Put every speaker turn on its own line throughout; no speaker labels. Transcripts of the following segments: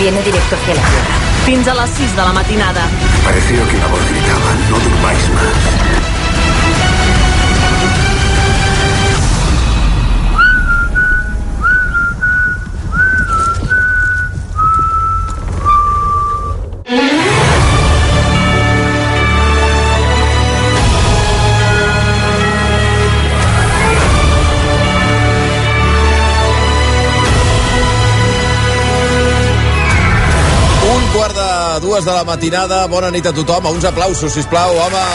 Viene directo hacia la Tierra.
Fins a les 6 de la matinada.
Pareció que una voz gritaba, no durmáis más.
dues de la matinada. Bona nit a tothom. Uns aplausos, si plau, home.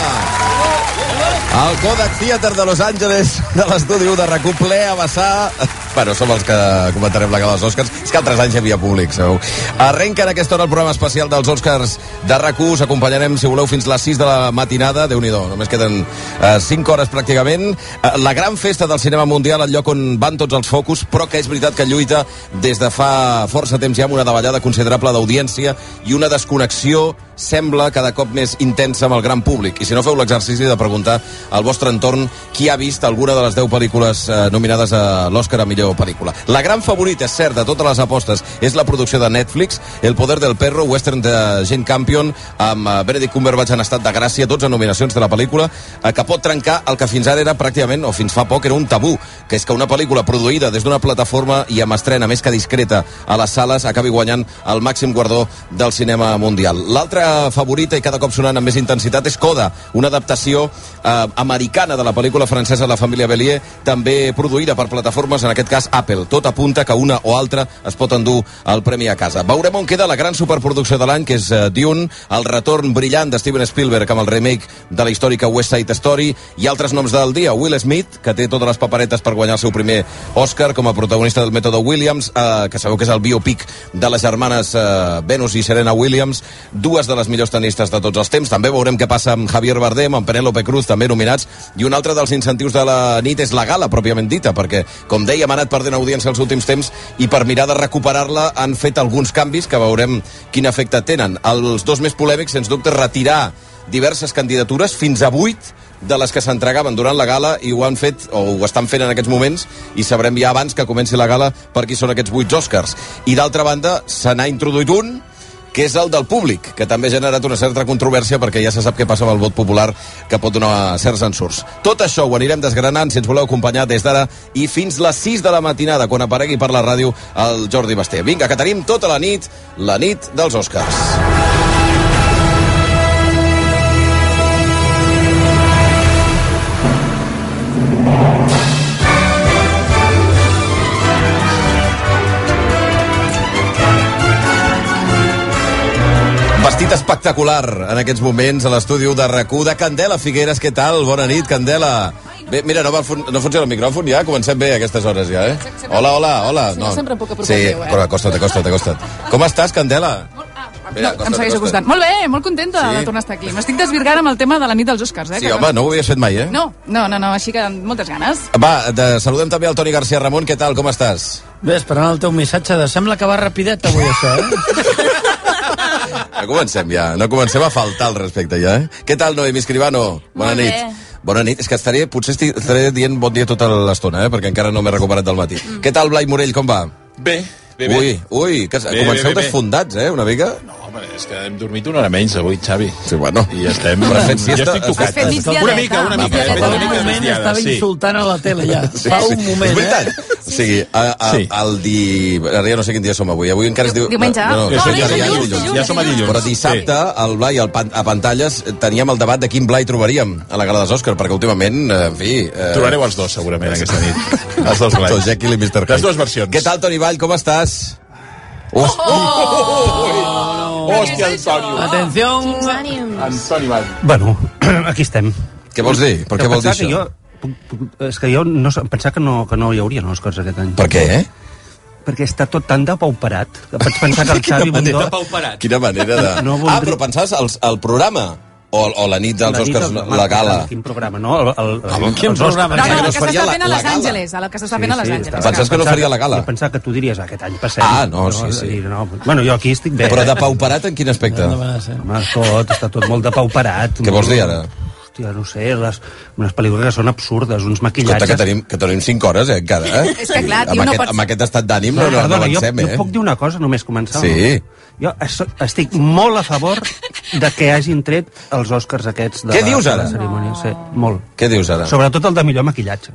El Kodak Theater de Los Angeles, de l'estudi de RAC1, ple a vessar... Bueno, som els que comentarem la gala dels Oscars. És que altres anys hi havia públic, segur. Arrenca en aquesta hora el programa especial dels Oscars de RAC1. Us acompanyarem, si voleu, fins les 6 de la matinada. déu nhi només queden eh, 5 hores pràcticament. Eh, la gran festa del cinema mundial, el lloc on van tots els focus, però que és veritat que lluita des de fa força temps ja amb una davallada considerable d'audiència i una desconnexió sembla cada cop més intensa amb el gran públic. I si no feu l'exercici de preguntar al vostre entorn qui ha vist alguna de les 10 pel·lícules eh, nominades a l'Oscar a millor pel·lícula. La gran favorita, és cert, de totes les apostes és la producció de Netflix, El poder del perro, western de Jane Campion, amb eh, Benedict Cumberbatch en estat de gràcia, 12 nominacions de la pel·lícula, eh, que pot trencar el que fins ara era pràcticament, o fins fa poc, era un tabú, que és que una pel·lícula produïda des d'una plataforma i amb estrena més que discreta a les sales acabi guanyant el màxim guardó del cinema mundial. L'altra favorita i cada cop sonant amb més intensitat és Coda, una adaptació eh, americana de la pel·lícula francesa La família Bellier, també produïda per plataformes, en aquest cas Apple. Tot apunta que una o altra es pot endur el premi a casa. Veurem on queda la gran superproducció de l'any, que és eh, Dune, el retorn brillant de Steven Spielberg amb el remake de la històrica West Side Story i altres noms del dia. Will Smith, que té totes les paperetes per guanyar el seu primer Oscar com a protagonista del mètode Williams, eh, que sabeu que és el biopic de les germanes eh, Venus i Serena Williams, dues de les millors tenistes de tots els temps. També veurem què passa amb Javier Bardem, amb Penélope Cruz, també nominats. I un altre dels incentius de la nit és la gala, pròpiament dita, perquè, com deia, ha anat perdent audiència els últims temps i per mirar de recuperar-la han fet alguns canvis que veurem quin efecte tenen. Els dos més polèmics, sens dubte, retirar diverses candidatures, fins a vuit, de les que s'entregaven durant la gala i ho han fet, o ho estan fent en aquests moments, i sabrem ja abans que comenci la gala per qui són aquests vuits Oscars. I d'altra banda, se n'ha introduït un, que és el del públic, que també ha generat una certa controvèrsia perquè ja se sap què passa amb el vot popular que pot donar certs ensurts. Tot això ho anirem desgranant si ens voleu acompanyar des d'ara i fins les 6 de la matinada quan aparegui per la ràdio el Jordi Basté. Vinga, que tenim tota la nit, la nit dels Oscars. Vestit espectacular en aquests moments a l'estudi de rac de Candela Figueres. Què tal? Bona nit, Candela. Bé, mira, no, va, fun- no funciona el micròfon ja? Comencem bé a aquestes hores ja, eh? Hola, hola, hola.
Si no, sempre puc apropar
sí,
el meu, eh?
però acosta't, acosta't, acosta't. Com estàs, Candela?
No, em segueix acostant. Molt bé, molt contenta
Sí?
de tornar a estar aquí. M'estic desvirgant amb el tema de la nit dels Oscars, eh?
Sí, home, no ho havies fet mai, eh?
No, no, no, no així que amb moltes ganes.
Va, de, saludem també al Toni García Ramon. Què tal, com estàs?
Bé, esperant el teu missatge de sembla que va rapidet avui això, eh?
No comencem ja, no comencem a faltar al respecte ja, eh? Què tal, Noemi Escribano? Bona
Molt
nit.
bé.
Bona nit. És que estaré, potser esti- estaré dient bon dia tota l'estona, eh? Perquè encara no m'he recuperat del matí. Mm. Què tal, Blai Morell, com va?
Bé, bé, bé.
Ui, ui, que
Bé, bé,
comenceu
bé, bé.
desfundats, eh, una mica?
No, home, és que hem dormit una hora menys avui, Xavi.
Sí, bueno.
I ja estem...
Però has fet siesta-
ja estic
has
tocat.
fet migdiadeta.
Una mica, una mica.
Migdiadeta.
eh? Una mica
Un moment
migdiada,
Estava
sí.
insultant a la tele ja. Fa un moment,
És
eh?
veritat. O sigui, a, a,
Sí.
el di... Ara ja no sé quin dia som avui. Avui encara es diu...
Diumenge.
No, no,
Ja som-
ja, ja,
ja
ja,
som-
dilluns.
ja som a dilluns.
Però dissabte, el Blai, al pan, a pantalles, eh, teníem el debat de quin Blai trobaríem a la gala dels Òscar, perquè últimament, eh, en fi... Eh,
Trobareu els dos, segurament, aquesta nit. Els dos
Dr.
plans.
Jekyll i Mr. Hyde.
Les dues versions.
Què tal, Toni Vall? Com estàs? Oh!
Hòstia, Antonio.
Atenció!
Antoni Vall.
Bueno, aquí estem.
Què vols dir? Per què
Heu
vols dir
pensat
això?
que Jo, puc, puc, és que jo no, sé- em pensava que no, que no hi haurien els cors aquest any.
Per què, eh?
Perquè està tot tan depauperat que vaig pensar que el
Quina
Xavi
manera,
Bundó...
quina manera de...
No voldria-
ah, però pensaves els, el programa? O, o la nit dels
La nit
Oscars,
del-
la gala?
Quin programa, no? El, el, el,
quin
els Oscars.
programa?
No, no,
que no
el
es
que
faria
s'està
la-
fent a
la
Los
gala.
Angeles, el que s'està fent a Los Angeles.
Pensaves que no faria la gala?
Jo pensava que tu diries aquest any, passem.
Ah, no, sí,
és a
sí.
dir, No, bueno, jo aquí estic bé.
Però
eh?
depauperat en quin aspecte?
No me la sé.
Home, tot, està tot molt depauperat.
Què vols dir ara?
hòstia, no sé, les, unes pel·lícules que són absurdes, uns
Compte
maquillatges...
que tenim, que tenim 5 hores, eh, encara, eh?
És que clar,
amb,
tio, Ah, no
aquest,
pots-
amb aquest estat d'ànim
No, no,
no, no, no
perdona, jo,
avancem,
jo
eh?
puc dir una cosa només començar?
Sí.
No? Jo es- estic molt a favor de que hagin tret els Oscars aquests de
Què
la,
dius ara?
De la cerimònia. Sí, molt.
Què dius ara?
Sobretot el de millor maquillatge.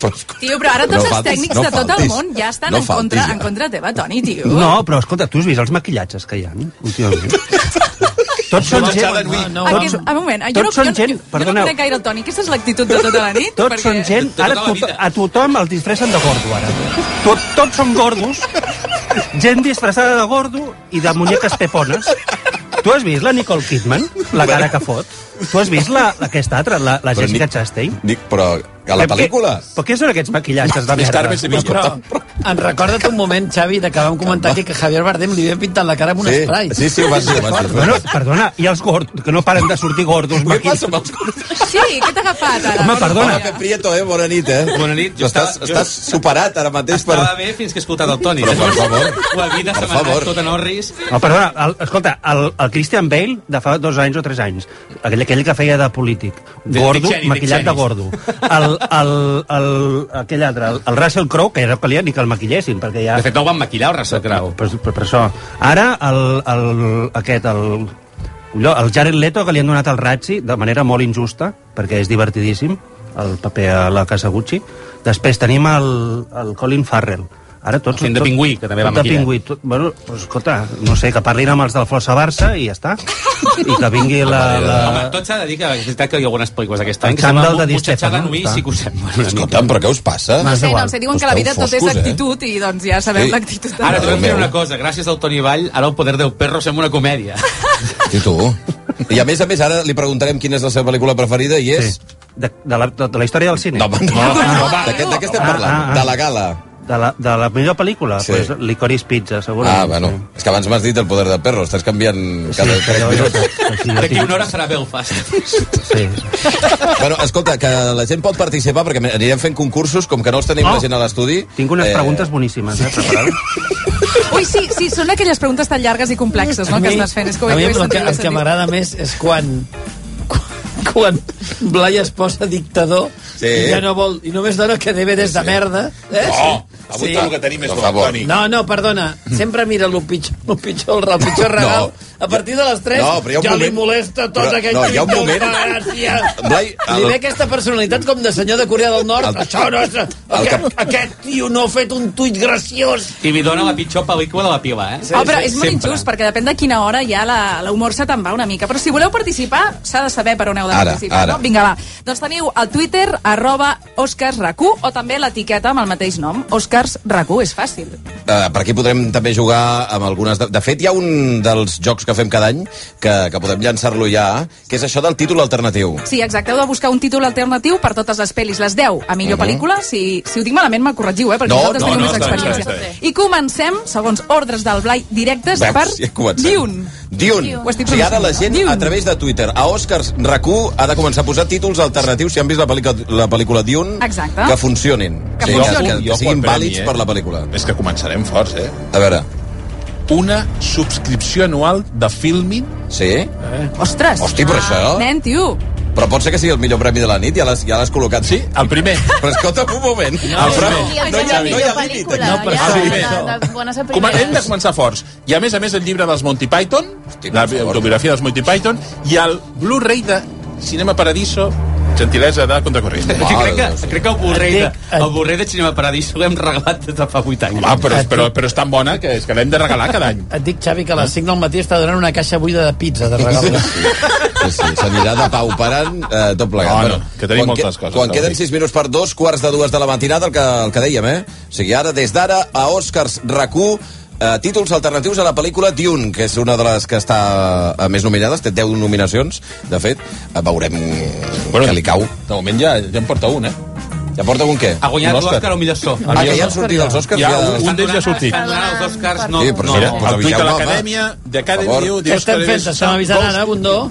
Pues-
Tio, però ara tots
No
els
faltis,
tècnics
no
de tot el
faltis.
món ja estan
No
en, contra,
faltis, ja.
en contra teva, Toni, tio.
No, però escolta, tu has vist els maquillatges que hi ha últimament? Tots són gent...
de nit.
no,
Aquest,
tots-
un moment, eh, jo no,
tots són
jo,
gent,
jo, jo no
perdoneu,
conec gaire el Toni. Aquesta és l'actitud de tota la nit.
tots són gent... Ara to a tothom el disfressen de gordo, ara. Tot, tots són gordos, gent disfressada de gordo i de muñeques pepones. Tu has vist la Nicole Kidman, la cara que fot? Tu has vist la, aquesta altra, la, la
Però
Jessica
Nic-
Chastain?
Nic, però a la
Però què-
pel·lícula?
Però què són aquests maquillatges de
Miss
merda?
Carmen Sevilla.
Però-
Però ens recorda't un moment, Xavi, de que vam comentar aquí que Javier Bardem li havia pintat la cara amb un
Sí,
esprai.
sí, sí, ho vas dir, ho vas dir.
Bueno, perdona, i els gordos, que no paren de sortir gordos,
Què passa
maquillatges...
amb els cursos?
Sí, què t'ha agafat ara?
Home, perdona,
Hola, Pep Prieto, eh? Bona nit, eh?
Bona nit, jo
Estàs,
estava- jo-
estàs superat ara mateix per...
Estava bé fins que he escoltat el Toni.
Però, per favor.
La vida
Per
se m'ha
favor.
anat tot en orris.
No, Oh, perdona, el, escolta, el, el Christian Bale de fa dos anys o tres anys, aquell, aquell que feia de polític,
Dick
gordo,
Cheney, Dick
maquillat de
Cheney.
gordo. El, el, el, aquell altre, el, el Russell Crowe, que ja no calia ni que el maquillessin, perquè ja...
De fet, no ho van maquillar, el Russell Crowe.
Per, per, per això. Ara, el, el, aquest, el... Colló, el Jared Leto, que li han donat el Razzi de manera molt injusta, perquè és divertidíssim, el paper a la Casa Gucci. Després tenim el, el Colin Farrell. Ara tots...
El fill de
tot-
pingüí, que també va
tot de
maquillat.
pingüí, tot, bueno, pues, escolta, no sé, que parlin amb els del Flossa Barça i ja està. I que vingui la...
Ah,
la...
Home, tot s'ha de dir que és veritat que hi ha algunes pel·lícules aquest any
El
que sembla
xandall de Di
mutxatxada
Stefano,
Nui
està.
si que ho sembla. una mica.
Escolta'm, però què us passa?
No sé,
igual.
no sé, diuen que
Esteu
la vida tot és
foscos, eh?
actitud i doncs ja sabem
Sí.
l'actitud de
Ara
Déu
t'ho fer
meu.
una cosa, gràcies al Toni Vall, ara el poder del perro sembla una comèdia.
I tu? I a més a més, ara li preguntarem quina és la seva pel·lícula preferida i és...
Sí. De, de, la, de, de la història del cine?
No, no, no, no,
va.
d'aquest d'aquest estem
Ah,
parlant,
ah, ah.
de la gala.
De la, de la millor pel·lícula?
Sí.
Sí. Pues, Licorice Pizza, segurament.
Ah, bueno,
Sí.
és que abans m'has dit el poder del perro, estàs canviant cada 3
Però jo-
minuts.
així de
D'aquí
tio.
una hora serà Belfast.
Sí.
Bueno, escolta, que la gent pot participar perquè anirem fent concursos, com que no els tenim
Oh.
la gent a l'estudi.
Tinc unes preguntes boníssimes, eh, preparades.
Ui, sí, sí, són aquelles preguntes tan llargues i complexes, no?, que estàs fent. És que ho
a
he,
mi
ho he
el que,
sentit. ho he
el que
sentit.
m'agrada més és quan, quan, quan Blai es posa dictador
Sí. Oh,
i ja no vol, i només dona que DVDs de merda. Eh?
No, avui tot el que tenim és
Per
bo,
favor.
Toni.
No, no, perdona, sempre mira el pitjor, el pitjor, el pitjor regal.
No.
No. A partir de les 3
No, però hi ha un
ja li
moment-
molesta tot
però-
aquell
no, hi ha un
pitjor,
moment-
fa gràcia.
Blai, el-
Li ve aquesta personalitat com de senyor de Corea del Nord.
El-
Això no és... Aquest, aquest tio no ha fet un tuit graciós.
I m'hi dona la pitjor pel·lícula de la pila, eh?
Oh, però és molt
Sempre.
injust, perquè depèn de quina hora ja la- l'humor se te'n va una mica. Però si voleu participar, s'ha de saber per on heu de
Ara,
participar.
ara.
No? Vinga, va. Doncs teniu el Twitter, arroba OscarsRAC1, o també l'etiqueta amb el mateix nom, OscarsRAC1, és fàcil.
Eh, per aquí podrem també jugar amb algunes... De, de fet, hi ha un dels jocs que fem cada any que, que podem llançar-lo ja, que és això del títol alternatiu.
Sí, exacte, heu de buscar un títol alternatiu per totes les pel·lis. Les 10 a millor pel·lícula, si, si ho dic malament me corregiu, eh, perquè
Mhm. No,
vosaltres
no,
teniu
no,
més
està bé,
experiència.
està bé, està
I comencem, segons ordres del Blai, directes
Veus? Ja
per
comencem.
Dune.
Dune.
Ho estic
O sigui, ara la
pronunciant
gent,
bé.
a través de Twitter, a Oscars RAC1, ha de començar a posar títols alternatius, si han vist la pel·lícula, la pel·lícula Dune,
Exacte.
que funcionin.
Ah. Que
O sigui,
funcionin.
Que, que,
Jo
que
quan
siguin
premi,
vàlids
eh?
per la pel·lícula.
És que començarem forts, eh?
A veure,
Una subscripció anual de Filmin
sí?
Eh.
Ostres!
Hosti, però
Ah,
això-
Nen, tio!
Però pot ser que sigui el millor premi de la nit, ja l'has ja l'has col·locat.
Sí, el primer.
Però escolta'm un moment. No,
el primer.
Sí, el
no, hi ha, no hi ha límit.
pel·lícula.
aquí.
No, però
ja,
sí.
de, de, de bones a
Com- Hem de
primeres.
començar forts. I a més a més el llibre dels Monty Python,
Hosti, per
la
favor.
autobiografia dels Monty Python, i el Blu-ray de Cinema Paradiso, gentilesa de Contracorrent.
És que crec,
Mare de Déu,
que,
sí.
crec que el Borrell,
Et
de,
dic-
el Borrell de Cinema Paradiso l'hem regalat des de fa 8 anys.
Ah, però, però, però és tan bona que, és que l'hem de regalar cada any.
Et dic, Xavi, que a les 5 del matí està donant una caixa buida de pizza de regal.
Sí, sí, s'anirà de pau parant eh, tot plegat.
No, no, que tenim
quan
moltes coses,
Quan
t'ho
queden
dic.
6 minuts per dos, quarts de dues de la matinada, el que, el que dèiem, eh? O sigui, ara, des d'ara, a Oscars rac eh, títols alternatius a la pel·lícula Dune, que és una de les que està eh, més nominades, té 10 nominacions, de fet, eh, veurem bueno, que li cau.
De moment ja, ja en porta un, eh?
Ja porta un què?
Ha guanyat
Un Òscar.
l'Òscar al millor so.
Ah, que ja han sortit els Oscars?
Hi ha
ja...
un- d'ells ja ha sortit.
Estan donant els Oscars, no,
Sí, però
no,
mira,
no.
pues
el tuit
aviseu,
de
home.
l'Acadèmia
Per
d'Academy
favor.
Diu...
Què estem fent? T'estem avisant, Anna, Bundó?
O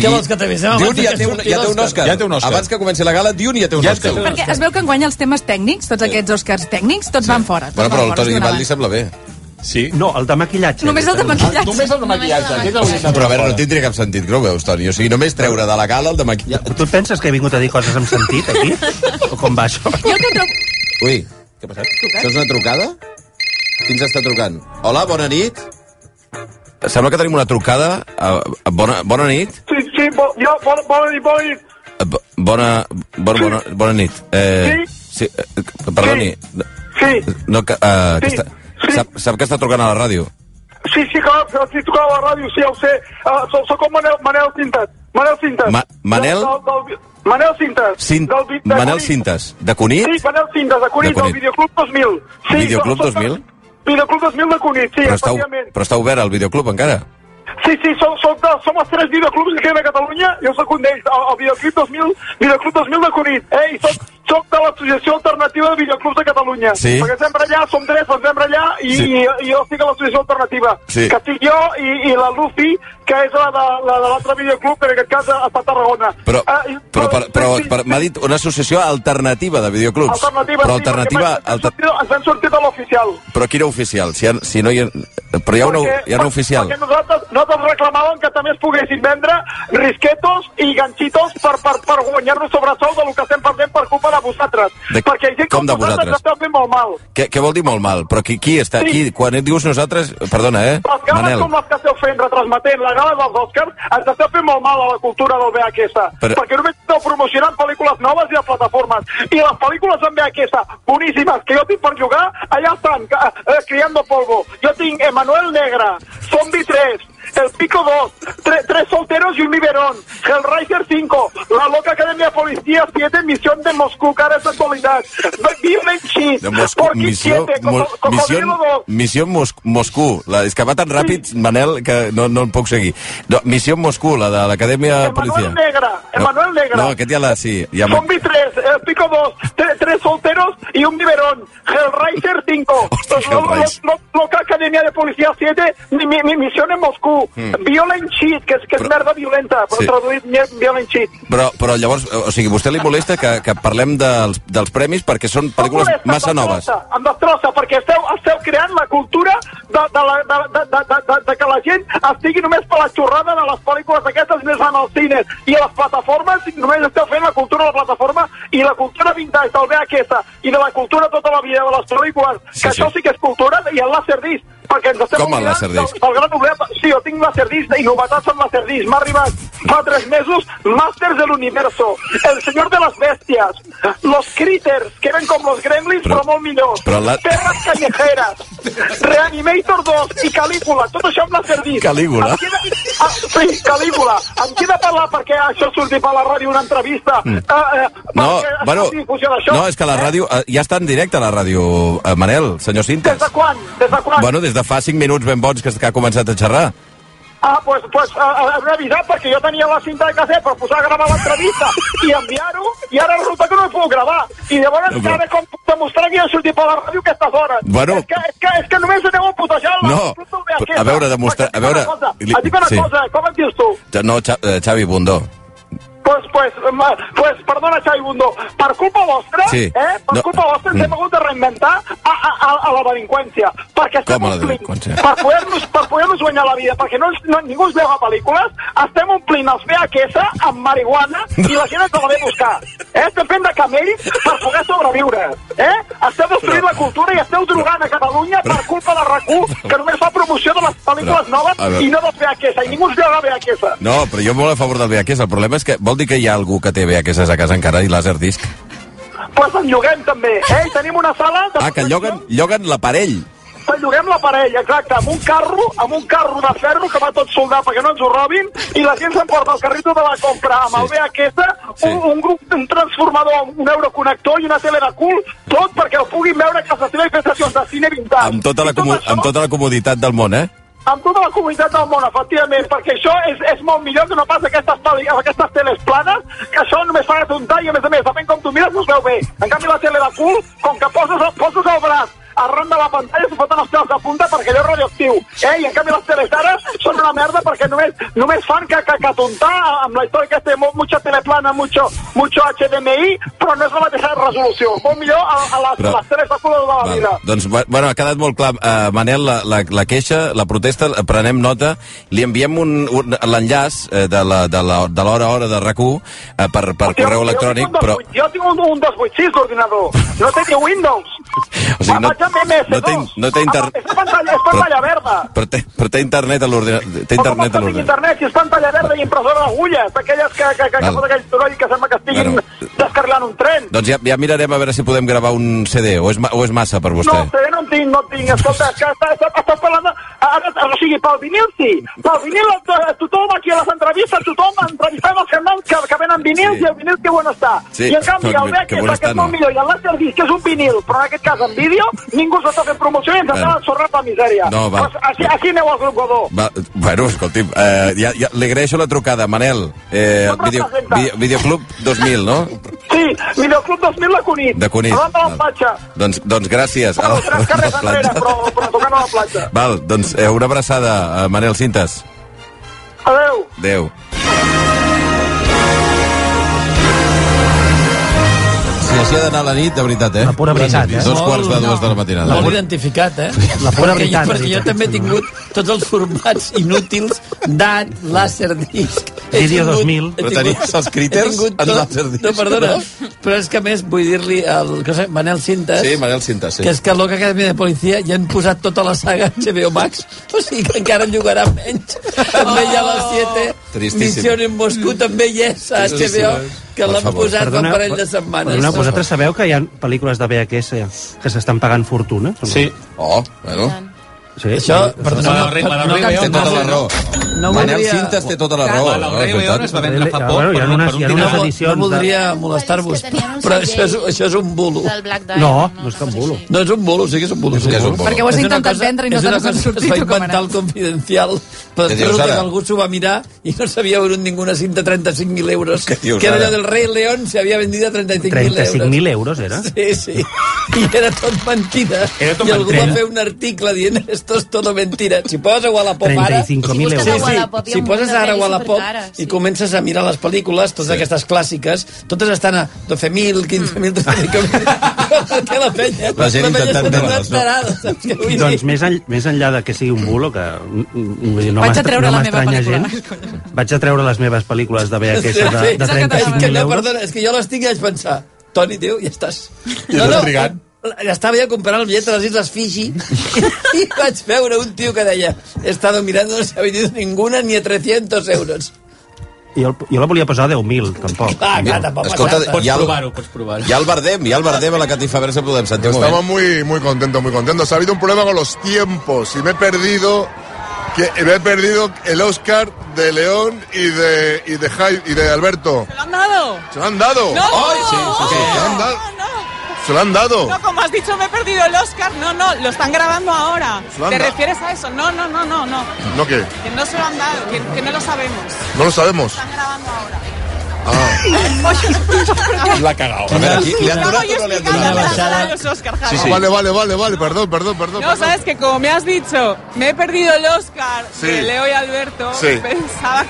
Què vols que t'avisem abans
Dune ja
que
té, un,
surti
ja té un
l'Òscar?
Òscar.
Ja té un Òscar.
Abans que comenci la gala, Dune ja té un
Ja té
Òscar.
un
Perquè es veu que en guanya els temes tècnics, tots aquests Oscars tècnics, tots van fora. Tots
Bueno, però
van
el
fora,
Toni
es
Di
donaven.
li sembla bé.
Sí.
No, el de maquillatge.
Només el de maquillatge.
Només el de maquillatge. Aquest hauria estat
Però a veure, no
fort.
tindria cap sentit, que no ho veus, Toni? O sigui, només treure de la gala el de maquillatge.
Tu et penses que he vingut a dir coses amb sentit, aquí? O com va això?
Jo el que trobo...
Ui,
Què ha passat?
això és una trucada? Qui ens està trucant? Hola, bona nit. Sembla que tenim una trucada. Eh, Bona, bona nit.
Sí, sí, bo, jo, bona, bona nit, bona nit.
Eh, bo- Bona, bona, bona, bona nit. Eh, sí, eh, perdoni.
Sí,
No, que, eh, que
Sí,
està,
sí.
sap, sap que està trucant a la ràdio.
sí, sí, clar, estic tocant a la ràdio, sí, ja ho sé. Uh, soc, soc el Manel, Manel Cintas. Manel Cintas.
Ma- Manel?
Del, del, del, Manel Cintas.
Cint,
del vi- de
Manel
Cunit.
Cintas, de
Sí,
Cunit?
Manel Cintas, de Cunit,
De Cunit.
del Videoclub 2000. Sí,
Videoclub
soc- soc-
2000?
Videoclub 2000 de Cunit, sí,
Però està,
efectivament.
però està obert el videoclub encara?
Sí, sí, som, som, de, som els tres videoclubs que hi ha a Catalunya, jo sóc un d'ells, el, el Videoclub 2000, Videoclub 2000 de Cunit, eh? I soc, soc de l'Associació Alternativa de Videoclubs de Catalunya.
Sí.
Perquè sempre allà, som tres, som sempre allà, i,
Sí.
sí. i, i jo estic a l'Associació Alternativa.
Sí.
Que estic jo i, i la Lucy, que és la de la de l'altre videoclub, que en aquest cas està a Tarragona.
Però,
Ah, i-
però, per, però,
sí, sí,
per,
sí.
m'ha dit una associació alternativa de videoclubs.
Alternativa,
però
sí, perquè
alternativa...
ens, hem
alter-
sortit, ens hem sortit de l'oficial.
Però quina oficial? Si, ha, si no hi ha... Però hi ha una, hi ha una oficial.
Perquè nosaltres, nosaltres reclamàvem que també es poguessin vendre risquetos i ganxitos per, per, per guanyar-nos sobresou del que estem perdent per culpa de vosaltres.
De-
Perquè hi ha gent
com de vosaltres?
ens està fent molt mal.
Què, què vol dir molt mal? Però qui, qui està
Sí.
aquí? Quan et dius nosaltres... Perdona, eh?
Les gales
Manel.
com les que esteu fent, retransmetent la gala dels Oscars, ens està fent molt mal a la cultura del VHS.
Però-
Perquè només esteu promocionant pel·lícules noves i a plataformes. I les pel·lícules en VHS, boníssimes, que jo tinc per jugar, allà estan, ca- eh, criando polvo. Jo tinc Emanuel Negra, Zombie 3, El Pico 2, tre- Tres Solteros y un Biberón, Hellraiser 5, La Loca Academia Policía 7, Misión de Moscú, cara de actualidad, Birmen Cheese,
De Moscú,
Porky
missió,
7,
mo,
Coco-
missió,
Cocodrilo 2,
missió Mos, Moscú. La, és que va tan ràpid, Manel, que no, no el puc seguir. No, missió Moscú, la de l'Acadèmia
Emanuel
Policia.
Negra, Emanuel Negra.
No, aquest ja la... Sí, ja m'ha-
Zombie 3, el eh, Pico 2, tre- tres solteros y un biberón. Hellraiser 5.
Hostia, Hellraiser.
Lo- lo- lo- Loca Academia de Policía 7, mi, mi- mi misión en Moscú. Violent Cheat, que, es- que
Però-
es merda violenta.
Hmm. Sí.
Sí. Traduït mi- Violent Cheat.
Però, però llavors, o sigui, vostè li molesta que, que parlem dels, dels premis perquè són pel·lícules
Em molesta,
massa
em
noves.
destrossa, Em destrossa, perquè esteu, esteu creant la cultura de, de, la, de, de, de, de, de, de que la gent estigui només per la xorrada de les pel·lícules aquestes més van als cines i a les plataformes, i només esteu fent la cultura de la plataforma i la cultura vintage del VHS i de la cultura tota la vida de les pel·lícules,
Sí,
sí, que
sí.
sí. això sí que és cultura i el Laserdisc, perquè ens estem
Com el
oblidant
Laserdisc?
del, del gran oblet. Sí, jo tinc Laserdisc i novetats amb Laserdisc. M'ha arribat fa tres mesos Masters de l'Universo, El Senyor de les Bèsties, Los Critters, que eren com los Gremlins,
Però-
però, però molt millors,
però la-
Terres Callejeras, Reanimator 2 i Calígula, tot això amb Laserdisc.
Calígula?
Em Queda... Ah, sí, Calígula. Em queda parlar perquè això surti per la ràdio una entrevista. Mm. Uh, uh,
No, bueno, no, és que la ràdio... eh, Ja està en directe la ràdio, eh, Manel, senyor
Des
Cintes.
de quan? Des de quan?
Bueno, des de fa 5 minuts ben bons que, que ha començat a xerrar.
Ah, pues, pues uh, hem avisat perquè jo tenia la cinta de casset per posar a gravar l'entrevista i enviar-ho, i ara resulta que no ho puc gravar. I llavors
No,
no, però...
però-
ara com puc demostrar que jo he sortit per la ràdio aquestes hores?
Bueno.
És, que, és, que, és que només aneu a putejar la
No,
puta
però,
aquesta.
a veure, demostra-
Perquè
a veure,
Et dic una
li-
cosa, et dic una
sí.
sí. cosa com et dius tu?
Ja, No, Xa- eh, Xavi Bundó.
Pues, Doncs, pues, ma- pues, perdona, Xavi Bundó, per culpa vostra,
Sí.
eh, per
No.
culpa vostra ens
Mm.
hem hagut de reinventar a, a, a, a la delinqüència. Perquè estem
Com a la
omplint-
delinqüència?
Per poder-nos per poder guanyar la vida, perquè no, ens- no, ningú ens veu a pel·lícules, estem omplint els VHS amb marihuana i la gent ens la ve a buscar. Eh? Estem fent de camells per poder sobreviure. Eh? Estem destruint la cultura i esteu drogant a Catalunya per culpa de RAC1, que només fa promoció de les pel·lícules
Però, a veure.
noves i no dels VHS, i ningú ens veu a VHS.
No, però jo molt a favor del VHS. El problema és que vol dir que hi ha algú que té VHS a casa encara i Laserdisc.
pues en lloguem també, eh? I tenim una sala... De
Ah, que
Doncs
lloguen, lloguen l'aparell.
Que lloguem l'aparell, exacte, amb un carro, amb un carro de ferro que va tot soldat perquè no ens ho robin, i la gent s'emporta el carrito de la compra amb
Sí.
el VHS,
Sí.
un, un, grup, un transformador, un euroconnector i una tele de cul, tot perquè el puguin veure a casa seva i fer sessions de cine vintage.
Amb tota la,
I tot
comu
això-
amb tota la comoditat del món, eh?
amb tota la comunitat del món, efectivament, perquè això és, és molt millor que no pas aquestes, pel·li- aquestes teles planes, que això només fa atontar i, a més a més, depèn com tu mires, no es veu bé. En canvi, la tele de cul, com que poses, el- poses el braç arran de la pantalla s'ho foten els peus de punta perquè allò és radioactiu. Eh? I en canvi les teles d'ara són una merda perquè només, només fan que, que, que tontar amb la història aquesta de mo- mucha teleplana, mucho, mucho HDMI, però no és la mateixa resolució. Molt millor a, a les,
Però-
però... les teles de color de la
Val.
vida.
Doncs, bu- bueno, ha quedat molt clar. Uh, Manel, la, la, la queixa, la protesta, eh, prenem nota, li enviem un, un, l'enllaç eh, de la- de la- de l'hora a hora de rac eh, per, per
Hòstia,
correu
jo
electrònic,
tinc un
però...
dos vuit- Jo tinc un, un 286 d'ordinador. No té ni Windows.
O sigui, no,
Vaig amb MS2.
no té, no té
Ah,
internet...
És pantalla, és pantalla verda.
Però té, però té internet a l'ordinador. Té internet a
Però com
l'ordinador.
internet, si és pantalla verda i impressora d'agulles, aquelles que, que, que, que
Val.
fot aquell soroll que sembla que estiguin
Bueno.
descarrilant un tren.
Doncs ja, ja mirarem a veure si podem gravar un CD, o és, ma- o és massa per vostè?
No, té, no en tinc, no en tinc. Escolta, que estàs, estàs parlant... de- Ara, o sigui, pel vinil sí. Pel vinil eh, tothom aquí a les entrevistes, tothom entrevistant els germans que, que venen vinils
Sí.
i el vinil que bon està.
Sí,
I en canvi,
no,
el Beck
que
és
bon
el que
està,
és molt
no.
millor i el Lester Disc que és un vinil, però en aquest cas en vídeo, ningú s'està fent promoció i ens
Bueno.
bueno. està sorrat la misèria.
No, va.
Així, així aneu al grup Godó.
Va, bueno, escolti'm, eh, ja, ja, li agraeixo la trucada, Manel. Eh,
No em
video,
representa.
vi- videoclub 2000, no?
Sí, Videoclub 2000 de Cunit.
De Cunit.
Davant de la platja.
Doncs, doncs gràcies.
Bueno, tres carrers
la
enrere, però, però tocant a la platja.
Val, doncs eh, una abraçada, eh, Manel Cintes.
Adéu.
Adéu. Si així ha d'anar la nit, de veritat, eh?
La pura veritat, eh?
Dos quarts de dues de la
L'has
matinada.
molt identificat, eh?
La pura
perquè,
veritat,
jo, perquè jo
veritat.
també he tingut tots els formats inútils, DAT, Laserdisc... he
Vídeo
tingut-
2000.
he
Però
tingut-
tenies els critters
he tingut
en
tot-
Laserdisc,
No, perdona,
no?
però és que a més vull dir-li al que sé, Manel Cintas...
Sí, Manel Cintes, sí.
Que és que a l'Oca Academia de Policia ja han posat tota la saga en HBO Max, o sigui que encara en llogarà menys. També hi ha les 7,
Tristíssim.
Mission en Moscú, també hi és a HBO, que
Per
l'han
favor.
posat fa un parell de setmanes.
perdoneu, vosaltres sabeu que hi ha pel·lícules de VHS que s'estan pagant fortuna?
Sí.
Oh, bueno.
sí.
Això, perdona,
La del Rei- la del Rei
Té
León,
tota la
no?
raó.
No
Manel
voldria-
Cintes té tota la
Clar,
raó.
La del
no?
Rei
És
León
veritat.
es va vendre fa
Ah,
poc
bueno, hi ha
per un,
unes-
per
hi ha
un
No,
unes
dinar.
no,
edicions
no
de-
voldria molestar-vos,
que tenien un
però això és,
segell
això és un bulo.
del Black Diamond.
No, no és cap
una cosa
bulo.
així.
No és un bulo, sí que és un bulo.
És que és un bulo.
Perquè ho has
És una
intentat vendre i no
és
te
una
n'has
cosa
sortit,
que
tu,
Es va
com
inventar el
ara.
confidencial, però
Què dius,
resulta
ara?
que algú s'ho va mirar i no s'havia venut ninguna cinta a 35.000 euros,
Què dius,
que era
ara?
allò del rei León, s'havia vendit a 35.000 euros.
35.000 euros, era?
Sí, sí. I era tot mentida.
Era tot
I algú
mentida.
va fer un article dient esto es todo mentira. Si poses a Wallapop
35.000
ara...
Si
Sí,
busques
euros.
a Wallapop
sí.
hi ha
Si
un
poses
munt de
ara a
pel·lis
Wallapop
supercares,
i
sí.
comences a mirar les pel·lícules, totes aquestes clàssiques, totes estan a 12.000, 15.000, 13.000... Té la penya.
La gent
penya està
intentant veure-les,
donant
no?
tarada, saps què vull
Doncs
dir?
més, en, més enllà de que sigui un bulo, que mm, mm, vull dir, no
Vaig a
m'estra-
treure
no
la meva
m'estranya
pel·lícula.
gens, vaig a treure les meves pel·lícules de VHS
Sí,
de,
sí.
de
Que
35.000
no,
euros.
perdona, és que jo les tinc i vaig pensar, Toni, tio, ja estàs.
Ja estàs trigant.
Ja estava ja comprant el bitllet de les Isles Fiji i vaig veure un tio que deia he estado mirando, no se ha vendido ninguna ni a 300 euros.
Jo, jo la volia posar a 10.000, tampoc.
Ah, clar, tampoc
Escolta,
passa.
Pots
hi ha, el,
provar-ho, pots provar-ho.
hi ha el Bardem, hi ha el Bardem a la catifa versa, podem sentir un
Estamos
moment.
muy, muy contentos, muy contentos. Ha habido un problema con los tiempos y me he perdido. Que me he perdido el Oscar de León y de y de Jai- y de Alberto.
¡Lo han dado!
Se lo han dado.
¡No!
Se lo han dado. Se lo han dado.
No, como has dicho, me he perdido el Oscar. No, no, lo están grabando ahora.
Se lo han
¿Te
dado.
refieres a eso? No, no, no, no, no.
¿No qué?
Que no se lo han dado, que, que no lo sabemos.
No lo sabemos.
Están grabando ahora.
Ah.
L'ha cagat.
A veure, aquí, li han
Estaba
donat
yo
o no li han
explicando
donat?
la sala de los Oscar, Javi.
Ah, Vale, vale, vale, vale. Perdón, perdón, perdón.
No,
perdón.
sabes que como me has dicho, me he perdido el Oscar
Sí.
de Leo y Alberto,
Sí.
pensaba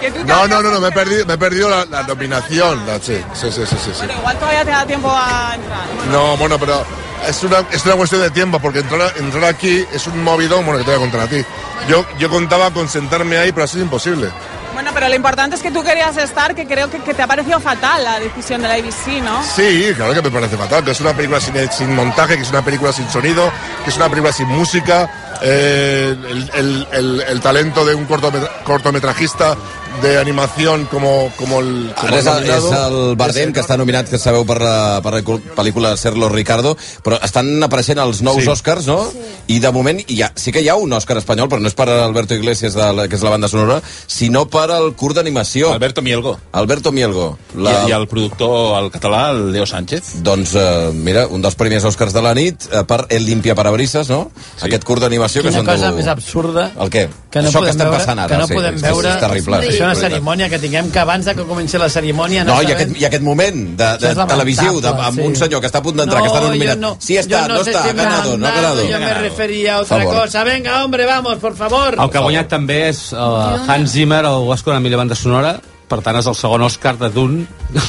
que, que tú te
No,
habías
no, no, no, me he
enterado.
perdido, me he perdido la, la nominación. la- sí, sí, sí, sí, sí, sí.
Bueno, igual todavía te da tiempo a entrar.
No, bueno, pero es una, es una cuestión de tiempo, porque entrar, entrar aquí es un movidón, bueno, que te voy a contar a ti. Yo, yo contaba con sentarme ahí, pero ha sido imposible.
Bueno, pero lo importante es que tú querías estar, que creo que, que te ha parecido fatal la decisión de la ABC, ¿no?
Sí, claro que me parece fatal, que es una película sin, sin montaje, que es una película sin sonido, que es una película sin música, eh, el, el- el- el talento de un cortometra- cortometrajista de animación como, como el... como el
Ara és el, és
nominado.
el Bardem, que està nominat, que sabeu, per la, per la cul- pel·lícula Serlo Ricardo, però estan apareixent els nous sí. Oscars, no? Sí. I de moment hi ha, sí que hi ha un Òscar espanyol, però no és per Alberto Iglesias, de la, que és la banda sonora, sinó per al curt d'animació. Albert...
Alberto Mielgo.
Alberto Mielgo.
La... I, I el productor al català, el Leo Sánchez.
Doncs, eh, mira, un dels primers Oscars de la nit eh, per El Limpia Parabrises, no? Sí. Aquest curt d'animació que
Quina
s'han
cosa més absurda
El què?
que no
Això
podem
que estem
veure,
passant ara,
que no
sí,
podem
sí, sí,
veure,
és terrible, sí,
això és una
és veritat.
cerimònia que tinguem que abans de que comenci la cerimònia
No, i aquest, i aquest moment de,
Això
de
és lamentable,
televisiu de, amb
sí.
un senyor que està a punt d'entrar, que està nominat. sí,
yo
està, no,
sé
està,
si
ha
me
ganado, no ha
han
ganado.
Yo me refería a
Por
otra
favor.
cosa. Venga, hombre, vamos, por favor.
El que ha guanyat també és uh, Hans Zimmer, el Oscar a la millor banda sonora, per tant és el segon Oscar de Dune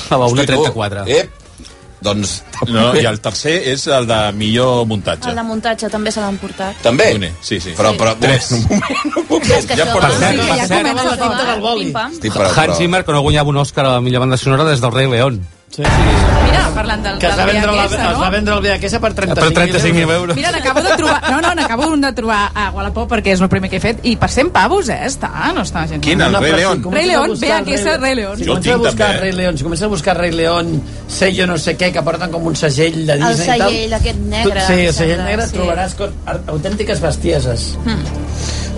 a la 1.34.
Ep, doncs...
No, I el tercer és el de millor muntatge.
El de muntatge també se l'han portat.
També?
Sí, sí.
Però, però,
Tres.
És que
Ja
això,
per
va,
cert,
sí,
per
ja
cert.
comença
la tinta
això,
del boli.
eh? Pim-pam.
Hans Zimmer, que no guanyava un Oscar a la millor banda sonora des del Rei León.
Mira, parlant del,
Que es va
del
vendre, la,
VHS,
es va
no?
vendre el VHS per 35.000
Per 35.000 euros.
Mira, n'acabo de trobar... No, no, n'acabo de trobar a Wallapop perquè és el primer que he fet i per 100 pavos, eh? Està, no està gens.
Quin, el
malament.
Rei
però
León?
si comences
Rei
a
León, VHS Rei León.
buscar el Si
Jo el
comences a
tinc,
buscar
també.
eh?
Rei León, si comences a buscar Rei León, sello no sé què, que porten com un segell de
El
Disney i tal.
segell aquest negre.
tu, sí,
em
el segell
sembla,
negre
sí. Hmm,
trobaràs co- ar- autèntiques bestieses.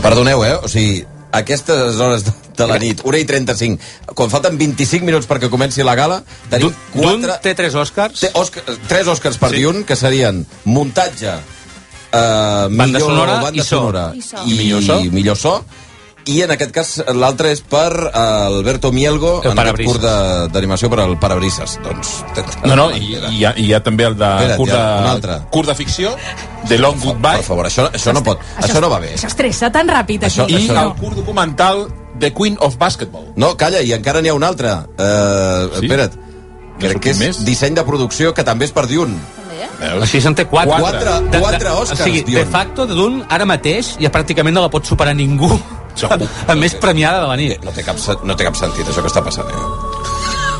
Perdoneu, eh? O sigui, aquestes hores de, de la nit, 1 i 35, quan falten 25 minuts perquè comenci la gala, tenim
Dune
4...
té tres Oscars.
Té Oscar, tres Oscars per sí. Dune, que serien muntatge, eh, millor
sonora
banda
i so.
sonora
I so.
i,
I millor so.
i millor so. I en aquest cas l'altre és per eh, Alberto Mielgo,
El
en aquest
parabrises.
curt de- d'animació per al Parabrises. Doncs,
No, no, i, i, hi ha, i hi ha també el de
Espera't,
curt,
hi ha un
de,
altre.
curt de ficció, The Long
Per
Goodbye,
favor, això, això no pot, això, no va bé.
Això estressa tan ràpid,
Això-
aquí.
i
això
el
no.
curt documental The Queen of Basketball.
No, calla, i encara n'hi ha un altre. Uh,
Sí?
Espera't. Crec
sortit
que és
més?
disseny de producció, que també és per Dune.
També?
eh? Així se'n té quatre.
Quatre,
De- de-
quatre Oscars,
O sigui,
Dion.
de facto, de Dune, ara mateix, ja pràcticament no la pot superar ningú.
Segur.
A més premiada de la nit.
Eh, No té cap, sen- no té cap sentit, això que està passant. Eh?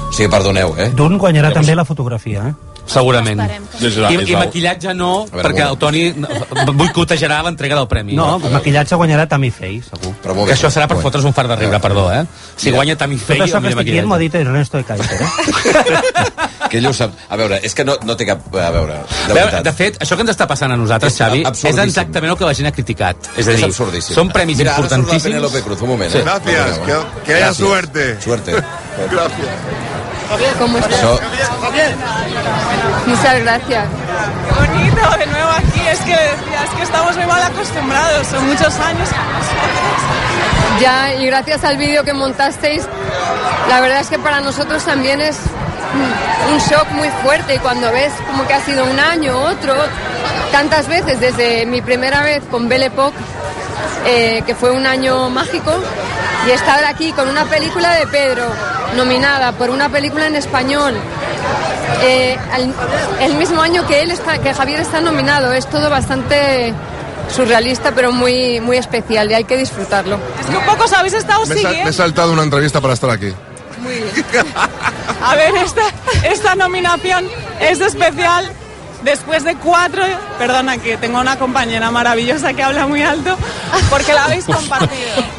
O sigui, perdoneu, eh?
D'un guanyarà també la fotografia, eh?
Segurament.
Esperem que-
És la,
I,
és
I
la,
maquillatge no,
veure,
perquè
un
el Toni boicotejarà l'entrega del premi.
No, el maquillatge guanyarà Tammy Faye, segur.
Però molt
que
bé.
això serà per
Bueno.
fotre's un fart de riure, perdó, eh? Si guanya Tammy
Tot
Faye,
això
el
que
millor
estic dient m'ho ha
maquillatge.
dit Ernesto de Kaiser, eh?
Que ell ho sap. A veure, és que no, no té cap... A veure, de
De,
veritat.
de fet, això que ens està passant a nosaltres,
És
Xavi, és
absurdíssim.
exactament el que la gent ha criticat. És a
és
dir,
absurdíssim.
són premis
Mira, Mira, ara surt la
importantíssims.
Penélope Cruz, un moment.
Sí.
Eh?
Gracias,
Perdoneu, eh?
que, que haya
Gràcies.
suerte.
Suerte.
Gracias.
Això,
Muchas gracias.
Bonito de nuevo aquí, es que decía, es que estamos muy mal acostumbrados, son muchos años.
Ya, y gracias al vídeo que montasteis, la verdad es que para nosotros también es mm, un shock muy fuerte. Y cuando ves como que ha sido un año, otro, tantas veces, desde mi primera vez con Belle Époque, eh, que fue un año mágico, y estar aquí con una película de Pedro, nominada por una película en español. eh, al- el mismo año que él está, que Javier está nominado, es todo bastante surrealista pero muy muy especial y hay que disfrutarlo.
Es que un poco os habéis
Oh,
Me,
estado
he sal- me he
siguiendo.
saltado una entrevista para estar aquí.
A ver, esta, esta nominación es especial después de cuatro. Perdona, que tengo una compañera maravillosa que habla muy alto, porque la habéis compartido.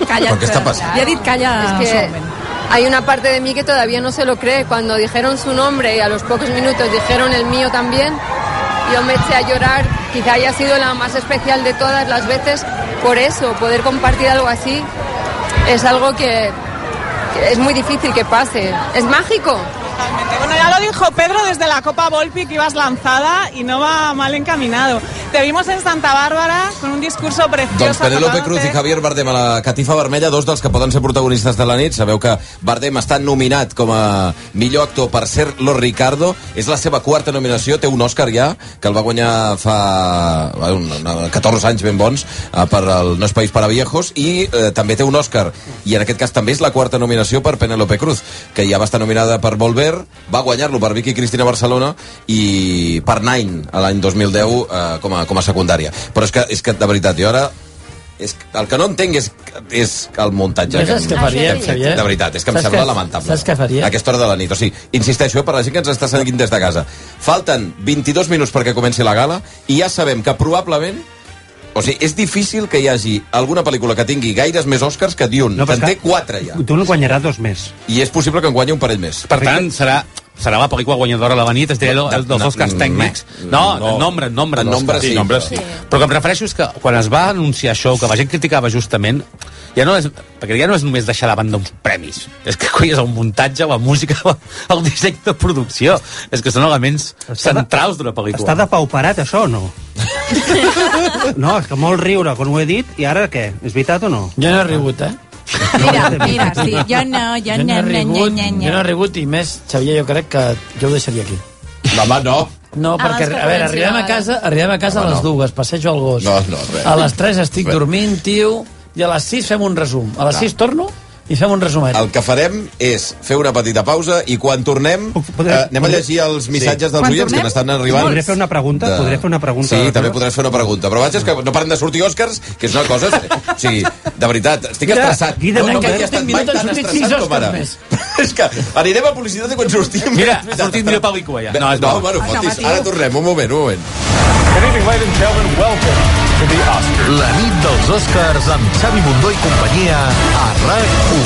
Calla't.
Però què està passant?
Ja ha dit calla
Es que
suaument.
hay una parte de mí que todavía no se lo cree. Cuando dijeron su nombre y a los pocos minutos dijeron el mío también, yo me eché a llorar. Quizá haya sido la más especial de todas las veces. Por eso, poder compartir algo así es algo que, que es muy difícil que pase. Es mágico.
Totalmente. Bueno, ya lo dijo Pedro desde la Copa Volpi que ibas lanzada y no va mal encaminado. Te vimos en Santa Bárbara con un discurso precioso.
Doncs Penélope
tocándote-
Cruz i Javier Bardem a la catifa vermella, dos dels que poden ser protagonistes de la nit. Sabeu que Bardem està nominat com a millor actor per ser Lo Ricardo. És la seva quarta nominació, té un Òscar ja, que el va guanyar fa bueno, una, una, 14 anys ben bons eh, per el No és País para Viejos, i eh, també té un Òscar. I en aquest cas també és la quarta nominació per Penélope Cruz, que ja va estar nominada per Volver, va guanyar-lo per Vicky Cristina Barcelona i per Nine a l'any 2010 eh, com, a, com a secundària. Però és que, és que de veritat, jo ara és, que- el que no entenc és, és el muntatge
Jo saps
hem-
què faria,
hem fet.
Xavier?
De veritat, és que em
Saps
sembla
què-
lamentable.
saps què faria?
A Aquesta hora de la nit. O sigui, insisteixo, eh, per la gent que ens està seguint des de casa. Falten 22 minuts perquè comenci la gala i ja sabem que probablement o sigui, és difícil que hi hagi alguna pel·lícula que tingui gaires més Oscars que Dune, no, que en té quatre ja.
Tu en guanyarà dos més.
I és possible que en guanyi un parell més.
Per tant, serà serà la pel·lícula guanyadora de la nit, es diré el, el dels
No,
Oscars
no,
tècnics. No,
no.
no, nombre, nombre.
En
d'Oscars.
nombre sí. Sí.
Però el que em refereixo és que quan es va anunciar això, que la gent criticava justament, ja no és, perquè ja no és només deixar de banda uns premis, és que coi, és el muntatge, la música, la- el disseny de producció, és que són elements centrals d'una pel·lícula.
Està depauperat, això, o no? No, és que molt riure quan ho he dit, i ara què? És veritat o no?
Jo no he rigut, eh?
Mira, mira, sí. Jo no, jo
Jo no he
no, no, no,
rigut,
no,
jo no he
no.
rigut i més, Xavier, jo crec que jo ho deixaria aquí.
Home, no.
No,
Ah,
perquè,
és que
a veure,
comenci la
arribem a
hora.
casa, arribem a casa
Home,
a les
no.
dues, passejo el gos.
No, no, res.
A les tres estic dormint, tio, i a les sis fem un resum. A les
No.
sis torno i fem un resumet.
El que farem és fer una petita pausa i quan tornem eh, anem a llegir els missatges dels
Quan
oients que
tornem?
n'estan arribant.
Podré fer una pregunta? Podré fer una pregunta?
Sí, també podràs fer una pregunta. Però vaja, és que no paren de sortir Oscars, que és una cosa... O sigui, de veritat, estic
Mira,
estressat.
Guida,
no, no
en
m'havia
aquests
estat
20
mai
minuts han
tan
sortit
estressat
sis
com ara.
Oscars més.
És que anirem a publicitat i quan sortim...
Mira,
és
ha sortit millor pel·lícula ja.
No,
No, és
no,
bo.
bueno,
Ah, no,
fotis.
Matiu.
Ara tornem, un moment, un moment.
Good evening, ladies and gentlemen. Welcome to the Oscars. La nit dels Oscars amb Xavi Bundó i companyia a RAC1.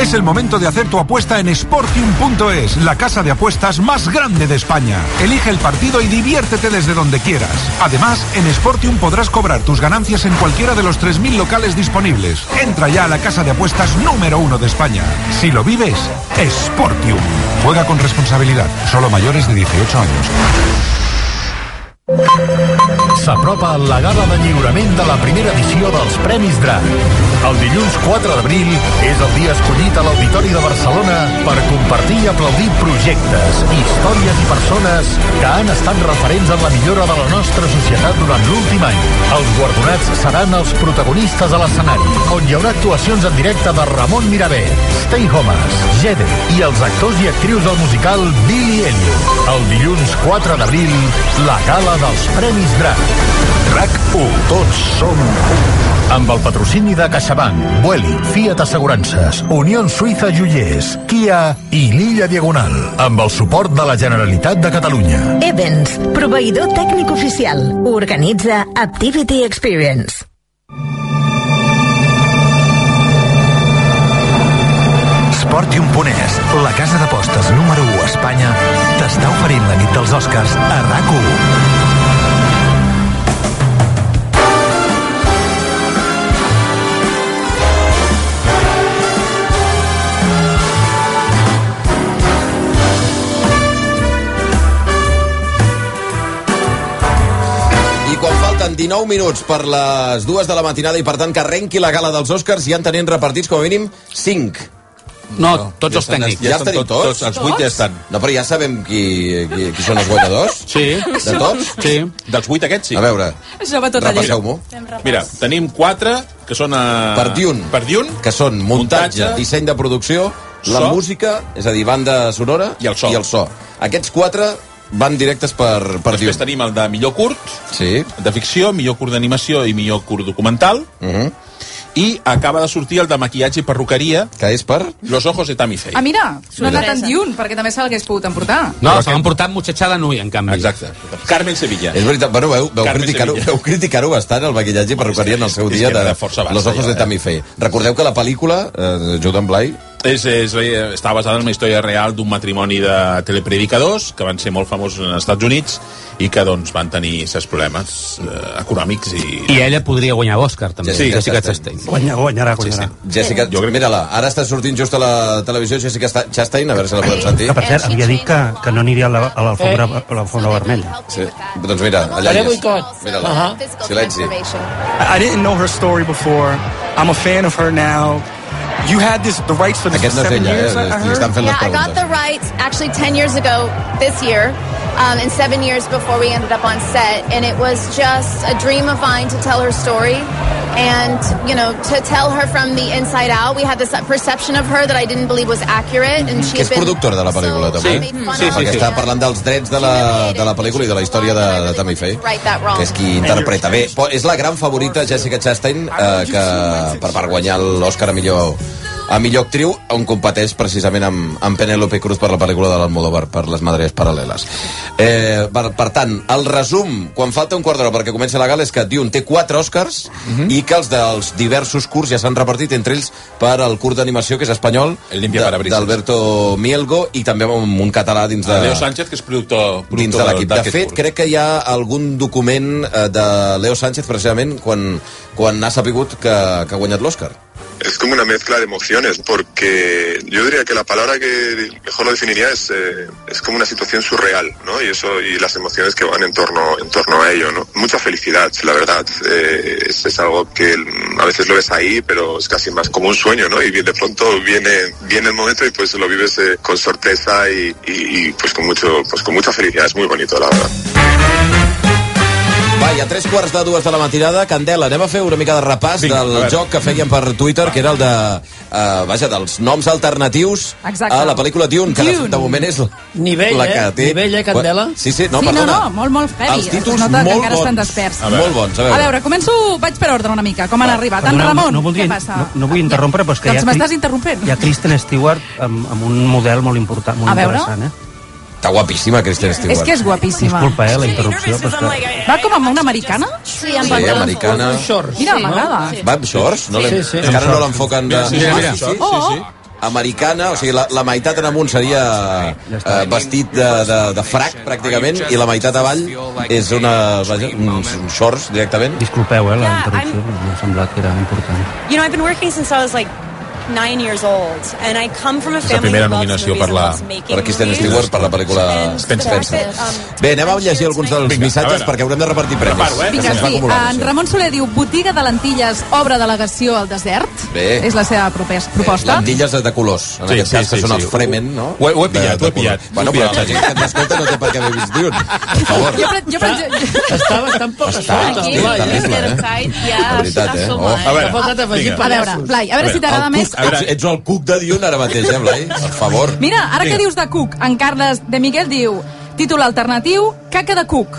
Es el momento de hacer tu apuesta en Sportium.es, la casa de apuestas más grande de España. Elige el partido y diviértete desde donde quieras. Además, en Sportium podrás cobrar tus ganancias en cualquiera de los 3.000 locales disponibles. Entra ya a la casa de apuestas número uno de España. Si lo vives, Sportium. Juega con responsabilidad, solo mayores de 18 años.
S'apropa la gala de lliurament de la primera edició dels Premis DRAC. El dilluns 4 d'abril és el dia escollit a l'Auditori de Barcelona per compartir i aplaudir projectes, històries i persones que han estat referents en la millora de la nostra societat durant l'últim any. Els guardonats seran els protagonistes a l'escenari, on hi haurà actuacions en directe de Ramon Mirabé, Stay Homes, Jede i els actors i actrius del musical Billy Elliot. El dilluns 4 d'abril, la gala dels Premis DRAC. RAC1, tots som un. Amb el patrocini de CaixaBank, Vueli, Fiat Assegurances, Unió Suïssa Jullers, Kia i l'Illa Diagonal. Amb el suport de la Generalitat de Catalunya.
Evans, proveïdor tècnic oficial. Organitza Activity Experience.
Sportium Ponés, la casa d'apostes número 1 a Espanya, t'està oferint la nit dels Oscars a RAC1.
I quan falten 19 minuts per les dues de la matinada i per tant que arrenqui la gala dels Oscars ja en tenim repartits com a mínim 5.
No, tots els
estan-
tècnics.
Ja,
Ja
estan
estan
tenim tots,
tots, els vuit ja estan.
No, però ja sabem qui, qui, qui són els guanyadors.
Sí.
De tots?
Sí.
Dels vuit aquests, sí.
A veure,
Això va tot a llei.
repasseu-m'ho.
Mira, tenim quatre que són... A...
Per Dune.
Per Dune.
Que són muntatge,
Muntatge.
disseny de producció, la
So.
música, és a dir, banda sonora i el so. I el so. Aquests quatre van directes per, per
Després tenim el de millor curt,
sí.
de ficció, millor curt d'animació i millor curt documental. Uh
Mhm.
-huh. I acaba de sortir el de maquillatge i perruqueria.
Que és per?
Los ojos de Tammy Faye.
Ah, mira, no ha anat en diun, perquè també se l'hagués pogut emportar.
No, se l'han portat Muchachada Nui, en canvi.
Exacte. Carmen Sevilla.
És veritat, bueno, veu, veu
Carmen
criticar-ho
Sevilla.
veu criticar bastant, el maquillatge i perruqueria en el seu
és
dia
que
de,
era força basta,
Los ojos
ja,
de
eh?
Tammy Faye. Recordeu que la pel·lícula, eh, Jordan Blay,
És, és, eh, està basada en una història real d'un matrimoni de telepredicadors que van ser molt famosos als Estats Units i que doncs, van tenir certs problemes eh, econòmics i
I ella podria guanyar l'Oscar, també.
Sí,
Jessica
Chastain.
Chastain.
Guanya, guanyarà,
guanyarà.
Jessica, jo crec... mira-la, ara està sortint just a la televisió Jessica Sta- Chastain, a veure si la podem sentir.
Que, per cert, Ah, havia dit que, que no aniria a la- a l'alfombra a l'alfombra vermella.
Sí. Doncs mira, allà
Faré
hi és.
boicot.
Mira-la.
Ahà.
Silenci.
I didn't know her story before. I'm a fan of her now. You had this the rights for this
Aquest
for
no és
seven
ella, eh?
years. I- I
Li
heard?
estan fent
Yeah, I got the rights actually 10 years ago this year, um, and seven years before we ended up on set. And it was just a dream of mine to tell her story and, you know, to tell her from the inside out. We had this perception of her that I didn't believe was accurate, and she
Mm-hmm. Que
had
és
been
productora de la pel·lícula,
so-
també.
Sí. Mm. Sí, sí,
Perquè
sí.
està parlant dels drets de la, de la pel·lícula i de la història de, de Tammy Faye,
right that wrong.
que és qui interpreta bé. Però és la gran favorita, Jessica Chastain, eh, que per, per guanyar l'Oscar a millor a millor actriu, on competeix precisament amb, amb Penélope Cruz per la pel·lícula de l'Almodóvar, per les madres paral·leles. Eh, per, per tant, el resum, quan falta un quart d'hora perquè comença la gala, és que Dune té quatre Oscars i que els dels diversos curs ja s'han repartit, entre ells per al curs d'animació, que és espanyol, de- d'Alberto Mielgo, i també amb un català dins de...
Leo Sánchez, que és productor, productor
dins de l'equip. De
d'aquest
fet, crec que hi ha algun document eh, de Leo Sánchez, precisament, quan, quan ha sapigut que, que ha guanyat l'Oscar.
Es como una mezcla de emociones, porque yo diría que la palabra que mejor lo definiría es, eh, es como una situación surreal, ¿no? Y eso y las emociones que van en torno, en torno a ello, ¿no? Mucha felicidad, la verdad. Eh, es, es algo que mm, a veces lo ves ahí, pero es casi más como un sueño, ¿no? Y de pronto viene, viene el momento y pues lo vives eh, con sorpresa y, y- y, pues con mucho, pues con mucha felicidad. Es muy bonito, la verdad.
Va, i a tres quarts de dues de la matinada, Candela, anem a fer una mica de repàs
Vinga,
Vinga,
a
del
veure.
joc que feien per Twitter, que era el de, eh, vaja, dels noms alternatius
Exacte.
a la pel·lícula Dune, que de,
Dune.
de moment és la,
Nivell,
la
eh?
que té...
Nivell, eh, Candela?
Sí, sí, no,
sí,
perdona.
no, no, molt, molt heavy.
Els títols
es nota
molt
que encara estan
bons.
desperts.
A veure. Molt bons, a veure.
A veure, començo... Vaig per ordre una mica, com han arribat. En
Perdoneu,
Ramon,
no voldria,
què passa?
No, no vull interrompre, però és que
doncs
hi ha,
m'estàs
Cri-
interrompent.
hi ha Kristen Stewart amb, amb un model molt important, molt
A veure.
interessant. Eh?
Està guapíssima, Kristen
És que és guapíssima.
Disculpa, eh, la interrupció, però és que...
Va com amb una americana? Sí,
amb Sí, pantalons americana. curts.
Mira, m'agrada.
Va amb shorts? No l'hem-
Sí, sí.
Encara no l'enfoquen de... Ah,
Mira, sí, sí, mira. Oh, oh.
Americana, o sigui, la, la meitat en amunt seria eh, vestit de, de, de frac, pràcticament, i la meitat avall és una, vaja, uns, uns shorts, directament.
Disculpeu, eh, la interrupció,
uh,
però m'ha semblat que era important.
You know, I've been working since I was like nine years old, and I come from a
la
family
primera
that loves
nominació
movies
per la
and loves making
per Kristen
movies.
Stewart per la pel·lícula
Spencer.
Spencer.
um,
Bé, anem a llegir alguns dels missatges perquè haurem de repartir premis.
Vinga,
Es va
sí.
acumulant,
En
sí.
Ramon Soler diu botiga de lentilles, obra delegació al desert.
Bé.
És la seva propers- proposta.
Lentilles de colors, en
Sí,
aquest
sí,
cas, que
sí,
són
sí.
els Fremen, no?
Ho he- ho he
De-
pillat, ho
de
he
color.
pillat, ho he
Bueno, però
pillat,
la gent que t'escolta no té per què haver vist Dune. Per favor.
Jo, jo, jo,
Estaves tan poca
Està-
solta.
estic
Blai,
terrible, eh? De veritat, eh? Oh.
A veure, Tampoc has afegit
vinga.
A veure, Blai, a veure si t'agrada
El
més.
cuc, Ets, ets el cuc de Dune ara mateix, eh, Blai? Per favor.
Mira, ara que dius de Cook, en Carles de Miguel diu títol alternatiu, Caca de Cook.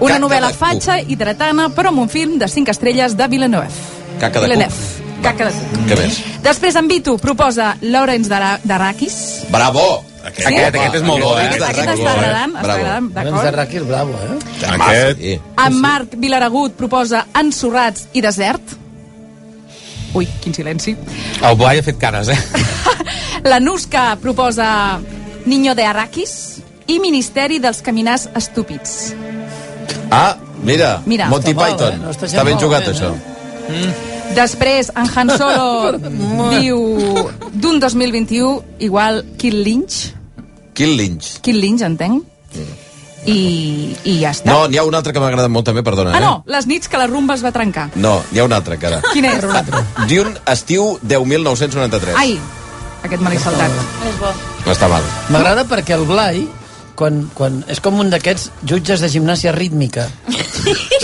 Una
Caca
novel·la
de cuc.
fatxa, hidratana, però amb un film de 5 estrelles de Villeneuve.
Caca de
Villeneuve.
cuc.
Caca de Cook.
Què més?
Després en Vitu proposa Lawrence Dara- d'Arrakis.
Bravo!
Aquest- aquest és molt bo, eh? Aquest està
eh?
agradant, està agradant, d'acord.
Doncs Arraqui és bravo, eh?
Aquest...
En Marc Vilaragut proposa Ensorrats i Desert. Ui, quin silenci.
El Blai ha fet cares, eh?
La Nusca proposa Niño de Arrakis i Ministeri dels Caminars Estúpids.
Ah, mira,
Mira.
Monty
Està molt,
Python.
eh? No està
Està ben
molt
jugat,
bé,
això.
Després, en Han Solo diu d'un 2021 igual Kill Lynch.
Kill Lynch.
Kill Lynch, entenc. I, i ja està.
No, eh? n'hi ha un altre que m'ha agradat molt també, perdona.
Ah, no, les nits que la rumba es va trencar.
Eh? No, n'hi ha un altre, cara.
Quin és?
Dune, estiu 10.993.
Ai, aquest me l'he saltat.
És bo.
No està mal.
M'agrada perquè el Blai, quan, quan és com un d'aquests jutges de gimnàsia rítmica,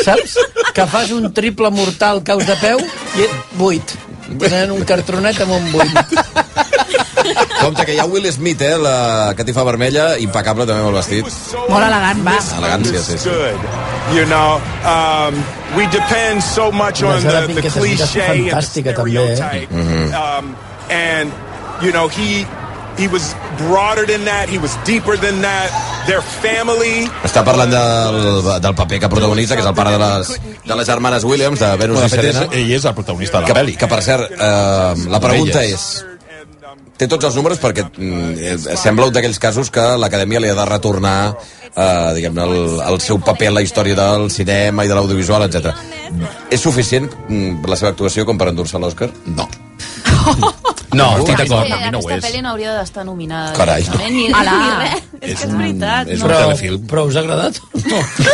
saps? Que fas un triple mortal caus de peu i et buit. Tenen un cartronet amb un buit.
Compte que hi ha Will Smith, eh, la catifa vermella, impecable també amb el vestit.
Molt elegant, va.
Elegància, sí, sí.
good. You know, um, we depend so much on
Basada
the, the
Pinkett és una
cliche and the
fantàstica també, eh?
stereotype.
Mhm.
Um, and you know, he he was broader than that. He was deeper than that. Their family.
Està parlant del, del paper que protagonitza, que és el pare de les, de les germanes Williams, de Venus
Bueno, de
i
fet,
Serena.
és- ell és el protagonista de la
que,
pel·li.
Que, per cert, eh, la pregunta és... Té tots els números perquè mm, eh, sembla un d'aquells casos que l'acadèmia li ha de retornar eh, diguem-ne, el, el seu paper en la història del cinema i de l'audiovisual, etc. És suficient mm, la seva actuació com per endur-se l'Oscar? No.
No,
estic d'acord.
És que
A mi no ho
aquesta
és.
pel·li no hauria d'estar nominada.
Carai.
directament, Ni,
Alà.
ni res. És, que és veritat. no?
telefilm.
Però us ha agradat?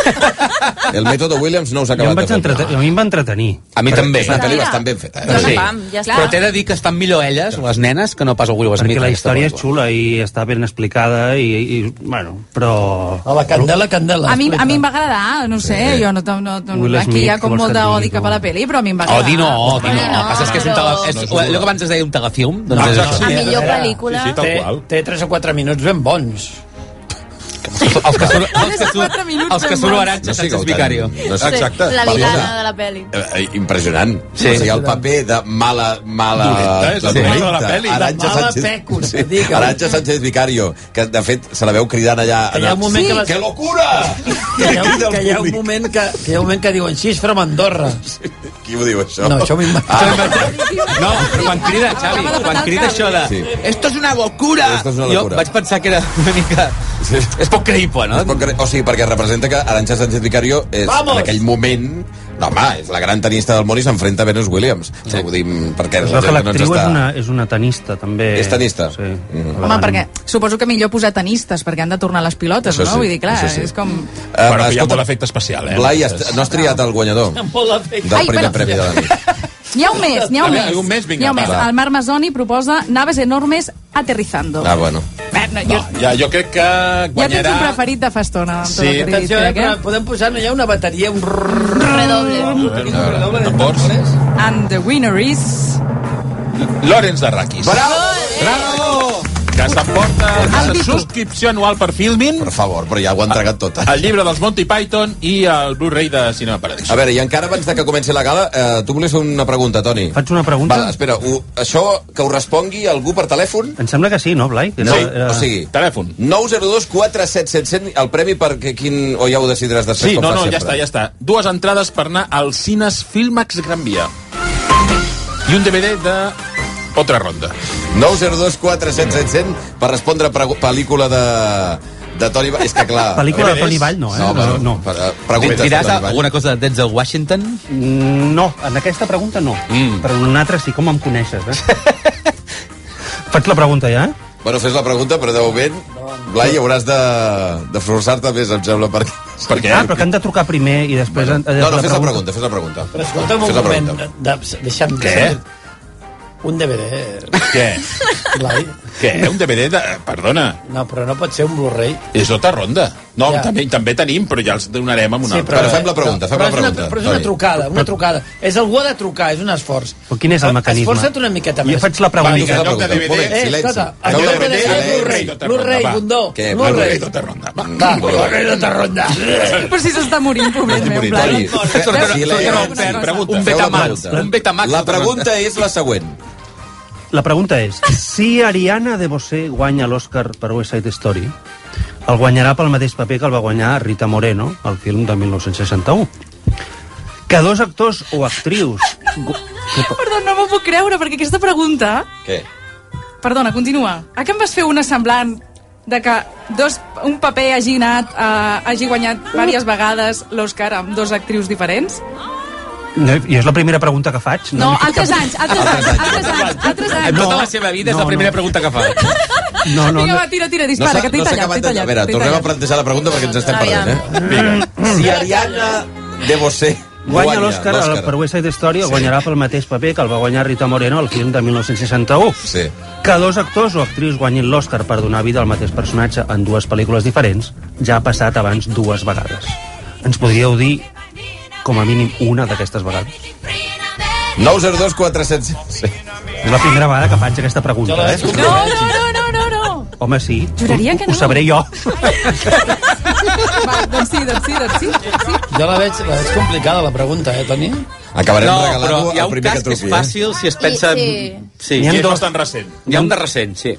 El mètode Williams no us ha
Jo em
acabat
vaig entrete... A mi em va entretenir.
A mi
Perquè
també.
és una pel·li
bastant
ben feta.
eh?
Sí.
Pam,
ja està.
Però t'he de dir que estan millor elles, les nenes, que no pas el Will Smith.
Perquè la
aquesta
història és
pel·lícula.
xula i està ben explicada i, i bueno, però...
A la candela, candela.
A mi, a mi em va agradar, no sé, jo no, no,
Will
no aquí
Smith,
hi ha com
vols
molt
que et
d'odi
digui,
cap a la pel·li, però a mi em va agradar.
Odi no, odi
Home,
no. El que passa és que és un
però-
tele... És,
No, és
allò que abans es deia un telefilm, doncs és això.
millor
pel·lícula.
Té, té 3 o 4 minuts ben bons.
Els que són,
Només
els que són,
quatre minuts,
els que són
Fernan.
Aranxa
No sigueu
Sánchez
tan-
Vicario.
no sigueu- Exacte.
La
Perdona.
villana de la pel·li.
Eh, eh, impressionant.
Sí.
Sí. O sigui, el paper de mala... mala
Dolenta,
eh?
és la
dolenta.
mala de la peli.
Arantxa
De mala
Sánchez,
pècora,
sí.
digue'm.
Arantxa Sánchez Vicario, que de fet se la veu cridant allà...
Que hi ha un moment que les-
que locura!
Que hi ha, un- que hi ha un moment que, que, hi ha un moment que diuen xisfra amb Andorra.
Qui ho diu, això? Ah.
No, això m'ho invento.
No, però quan crida, Xavi, quan crida això de...
Sí.
Esto es una locura!
Esto es una
Jo
locura.
vaig pensar que era una mica... És poc creïble, no?
Es pot cre- O sigui, perquè representa que Arantxa Sánchez Vicario és,
Vamos!
en aquell moment... No, home, és la gran tenista del món i s'enfrenta a Venus Williams. Sí. Vull dir, perquè la
Però que
gent no ens
l'actriu
està...
és, una, és una tenista, també.
És tenista?
Sí. Mm
Home, perquè suposo que millor posar tenistes, perquè han de tornar les pilotes,
Això
no?
sí,
Vull dir, clar,
això sí.
és com...
Eh,
Bueno, que hi ha
escolta,
molt efecte especial, eh?
Blai, has- no has triat el guanyador del
Ai,
primer
però-
premi de la nit.
N'hi ha un més, n'hi ha
A
un
veure,
més.
algun més? Vinga,
N'hi ha un més.
va.
El Marc Masoni proposa naves enormes aterrizando.
Ah, bueno.
Eh, no, jo,
Ja, jo crec que
jo tens
guanyarà...
un preferit de fa estona.
Sí,
Antonio Cridis,
Atenció, eh,
crec,
però podem posar, no hi ha una bateria, un... Redoble. Un petit redoble. de
tambors.
And the winner is...
Lorenz de Raquis.
Bravo!
Bravo! Que s'emporta la subscripció anual per Filmin.
Per favor, però ja ho han tragat tot.
El llibre dels Monty Python i el Blu-ray de Cinema Paradiso.
A veure, i encara abans de que comenci la gala, eh, tu volies fer una pregunta, Toni. Faig
una pregunta?
Va, espera, ho, això que ho respongui algú per telèfon?
Em sembla que sí, no, Blai? Que
No,
era- era-
o sigui...
Telèfon.
902 4777, el premi per que, quin... O ja ho decidiràs després,
Sí,
com
no,
fas
no, ja
sempre.
està, ja està. Dues entrades per anar al Cines Filmax Gran Via. I un DVD de... Otra ronda.
902 4777 per respondre pre pel·lícula de, de Toni Vall. És que clar...
Pel·lícula de Toni Vall, no, eh?
No, però,
No,
no.
no.
Per, eh, preguntes de
Diràs
Toni Vall.
alguna cosa de Denzel Washington?
Mm, No, en aquesta pregunta no. Mm. Però en una altra sí, com em coneixes, eh? Faig la pregunta ja, eh?
Bueno, fes la pregunta, però de moment, Blai, hauràs de, de forçar-te més, em sembla, perquè... Per
Ah, però que hem de trucar primer i després... Bueno,
eh? No, no, fes la pregunta, fes la pregunta.
Però escolta'm
Fes
un
la
moment,
pregunta.
de, deixa'm...
Què?
Un DVD.
Què?
Blai.
Què? Un DVD de... Perdona,
No, però no pot ser un Blu-ray.
és otra ronda. No,
Ja.
també, també tenim, però ja els donarem amb una
Sí,
altra.
però- Però fem
la pregunta,
Però és, una, però és una trucada, una trucada. És algú ha de trucar, és un esforç. Eh,
Però quin és el mecanisme?
Esforça't una miqueta més.
Jo faig la
Va,
pregunta.
vinga, en lloc de DVD,
Eh, escolta, en
Feu
lloc de
DVD,
DVD,
silenci.
Blu-ray,
Tota
Blu-ray,
ronda, va.
Bundó,
Què?
Blu-ray.
Blu-ray, tota
ronda.
Va, Blu-ray tota ronda.
Però si s'està morint, pobret meu, en plan.
Un Betamax. Un Betamax. La pregunta és la següent.
La pregunta és, si Ariana de Bosé guanya l'Oscar per West Side Story, el guanyarà pel mateix paper que el va guanyar Rita Moreno, al film de 1961. Que dos actors o actrius... gu-
Perdó, no m'ho puc creure, perquè aquesta pregunta...
Què?
Perdona, continua. Ah, que em vas fer una semblant de que dos, un paper hagi anat, eh, hagi guanyat diverses vegades l'Oscar amb dos actrius diferents?
No, I és la primera pregunta que faig?
No,
Una mica-
altres anys, altres anys, altres anys, altres anys.
En
No,
tota la seva vida és
no,
la primera
no.
pregunta que fa.
No, no,
Vinga,
no.
va, tira, tira, dispara,
s'ha-
que t'he
s'ha
tallat,
acabat
t'he
de-
tallat.
A veure,
t'he
tornem a
tallat.
plantejar la pregunta perquè ens estem
Aviam.
perdent, eh? Si Ariana de Bosé
Guanya l'Oscar al- per West Side Story, el guanyarà pel mateix paper que el va guanyar Rita Moreno al film de 1961.
Sí.
Que dos actors o actrius guanyin l'Oscar per donar vida al mateix personatge en dues pel·lícules diferents ja ha passat abans dues vegades. Ens podríeu dir com a mínim una d'aquestes vegades?
902 400...
És la primera vegada que faig aquesta pregunta, eh?
No, no, no, no, no, no.
Home, sí.
Juraria
Ho-
que
Ho
no.
sabré jo.
Doncs
Va, doncs sí, doncs sí, doncs sí. sí.
Jo la veig, la veig complicada, la pregunta, eh, Toni?
Acabarem
No, però
regalant-ho
hi ha
al
un
primer que
cas que és
truqui, eh?
fàcil si es pensa... en- Sí,
I
hi
és
ha,
bastant recent.
hi ha un de recent, sí.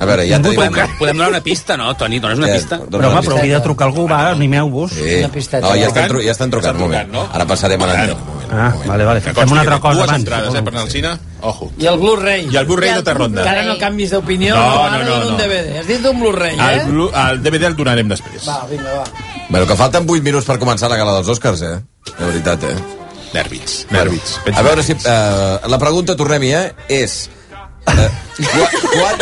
A veure, ja
Podem,
tenim...
podem donar una pista, no, Toni? Dones una
Ja,
pista?
dona
Però,
una
home, però
pista.
hauria de trucar algú, va, animeu-vos.
Sí.
Una pisteta.
No, ja estan, tru ja estan trucant,
Estan
un moment.
trucant, no?
Ara passarem a l'antena.
Ah, vale, vale.
Consti
Fem una altra
que
cosa
Dues
abans.
entrades, eh, per anar al cine. Ojo.
I el Blu-ray.
I el Blu-ray de
Que
Tarronda.
ara no canvis d'opinió,
No,
no, ara
no, no,
no, un
no.
DVD. Has dit un Blu-ray,
El,
eh?
Blu- el DVD el donarem després.
Va, vinga, va.
Bueno, que falten 8 minuts per començar la gala dels Oscars, eh? De veritat, eh?
Nervis. Nervis.
A veure si... Eh, la pregunta, tornem-hi, eh? És... Eh, qua, quan,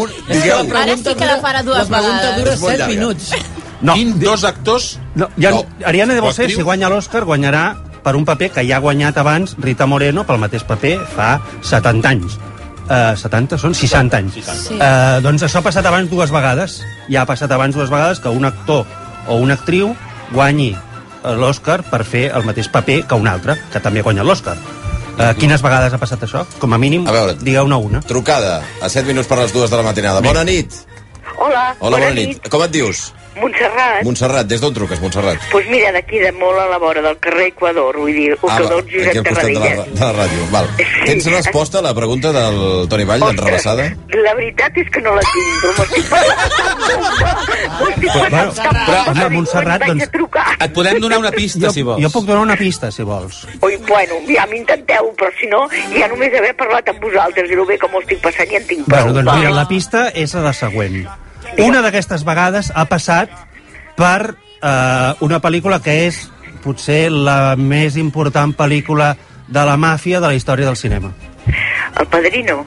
un, digueu,
Ara sí que la farà dues
La pregunta
vegades.
dura
És molt
7
llarga.
minuts.
No.
Quin dos actors...
No, ja,
No.
no. Ariana de Bosé,
Actriu.
si guanya l'Oscar, guanyarà per un paper que ja ha guanyat abans Rita Moreno pel mateix paper fa 70 anys. Uh, 70 són 60 anys.
Sí.
Uh, doncs això ha passat abans dues vegades. Ja ha passat abans dues vegades que un actor o una actriu guanyi eh, l'Oscar per fer el mateix paper que un altre, que també guanya l'Oscar. Uh, quines vegades ha passat això? Com a mínim,
A veure.
digueu-ne una.
trucada a 7 minuts per les dues de la matinada. Bona nit.
Hola,
Hola, bona, nit. Eh? Com et dius?
Montserrat.
Montserrat, des d'on truques, Montserrat?
Doncs pues mira, d'aquí de molt a la vora del carrer Equador, vull dir, Equador
Ah, va, aquí
Josep
al costat de la,
Tarradellas.
de la ràdio. Val. Tens resposta a la pregunta del Toni Vall, d'enrabassada?
La veritat és que no la tinc, però m'estic
Però, bueno, però, però Montserrat, doncs...
Et podem donar una pista,
jo,
si vols.
Jo puc donar una pista, si vols.
Ui, bueno, ja m'intenteu, però si no, ja només haver parlat amb vosaltres i el bé que m'ho estic passant ja en tinc prou.
Bueno, doncs
va.
mira, la pista és la següent. Una d'aquestes vegades ha passat per eh, una pel·lícula que és potser la més important pel·lícula de la màfia de la història del cinema.
El padrino.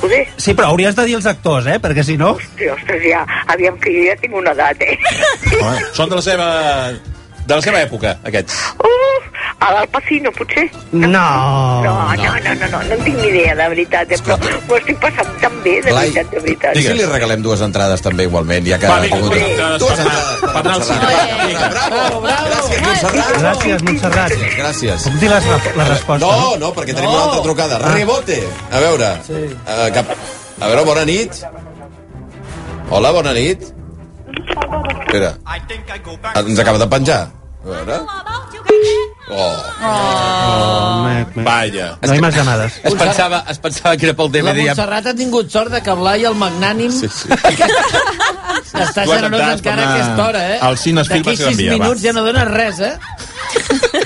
Joder,
Sí, però hauries de dir els actors, eh? Perquè si no...
hosti, ostres, ja, aviam que jo ja tinc una edat, eh?
Són de la seva... De la seva època, aquests.
Uf, a l'Alpacino, potser?
No.
No, no, no, no, no, no en tinc ni idea, de veritat, eh? però m'ho estic passant tan bé, de
Blai,
veritat, de veritat.
I si li regalem dues entrades també igualment, ja que
Va,
ha
vinga,
tingut...
dues entrades
Dues
per anar-
entrades
per anar al
Bravo, bravo. Gràcies, Montserrat.
Gràcies, Montserrat.
Gràcies.
Puc dir les, les respostes?
No, no, perquè tenim una altra trucada. Rebote. A veure, eh, cap... A veure, bona nit. Hola, bona nit. Espera. Ah, Ens acaba de penjar. A veure. Oh.
Vaya.
No hi més llamades.
Es pensava, es pensava que era
La
pel DVD. Ja...
Montserrat ha tingut sort de que Blai, el magnànim, sí, sí. està generós
Dues
encara
entrades per
a
anar
aquesta hora, eh?
al Cines Film va
D'aquí
ser
sis
l'envia, va.
minuts ja no dones res, eh?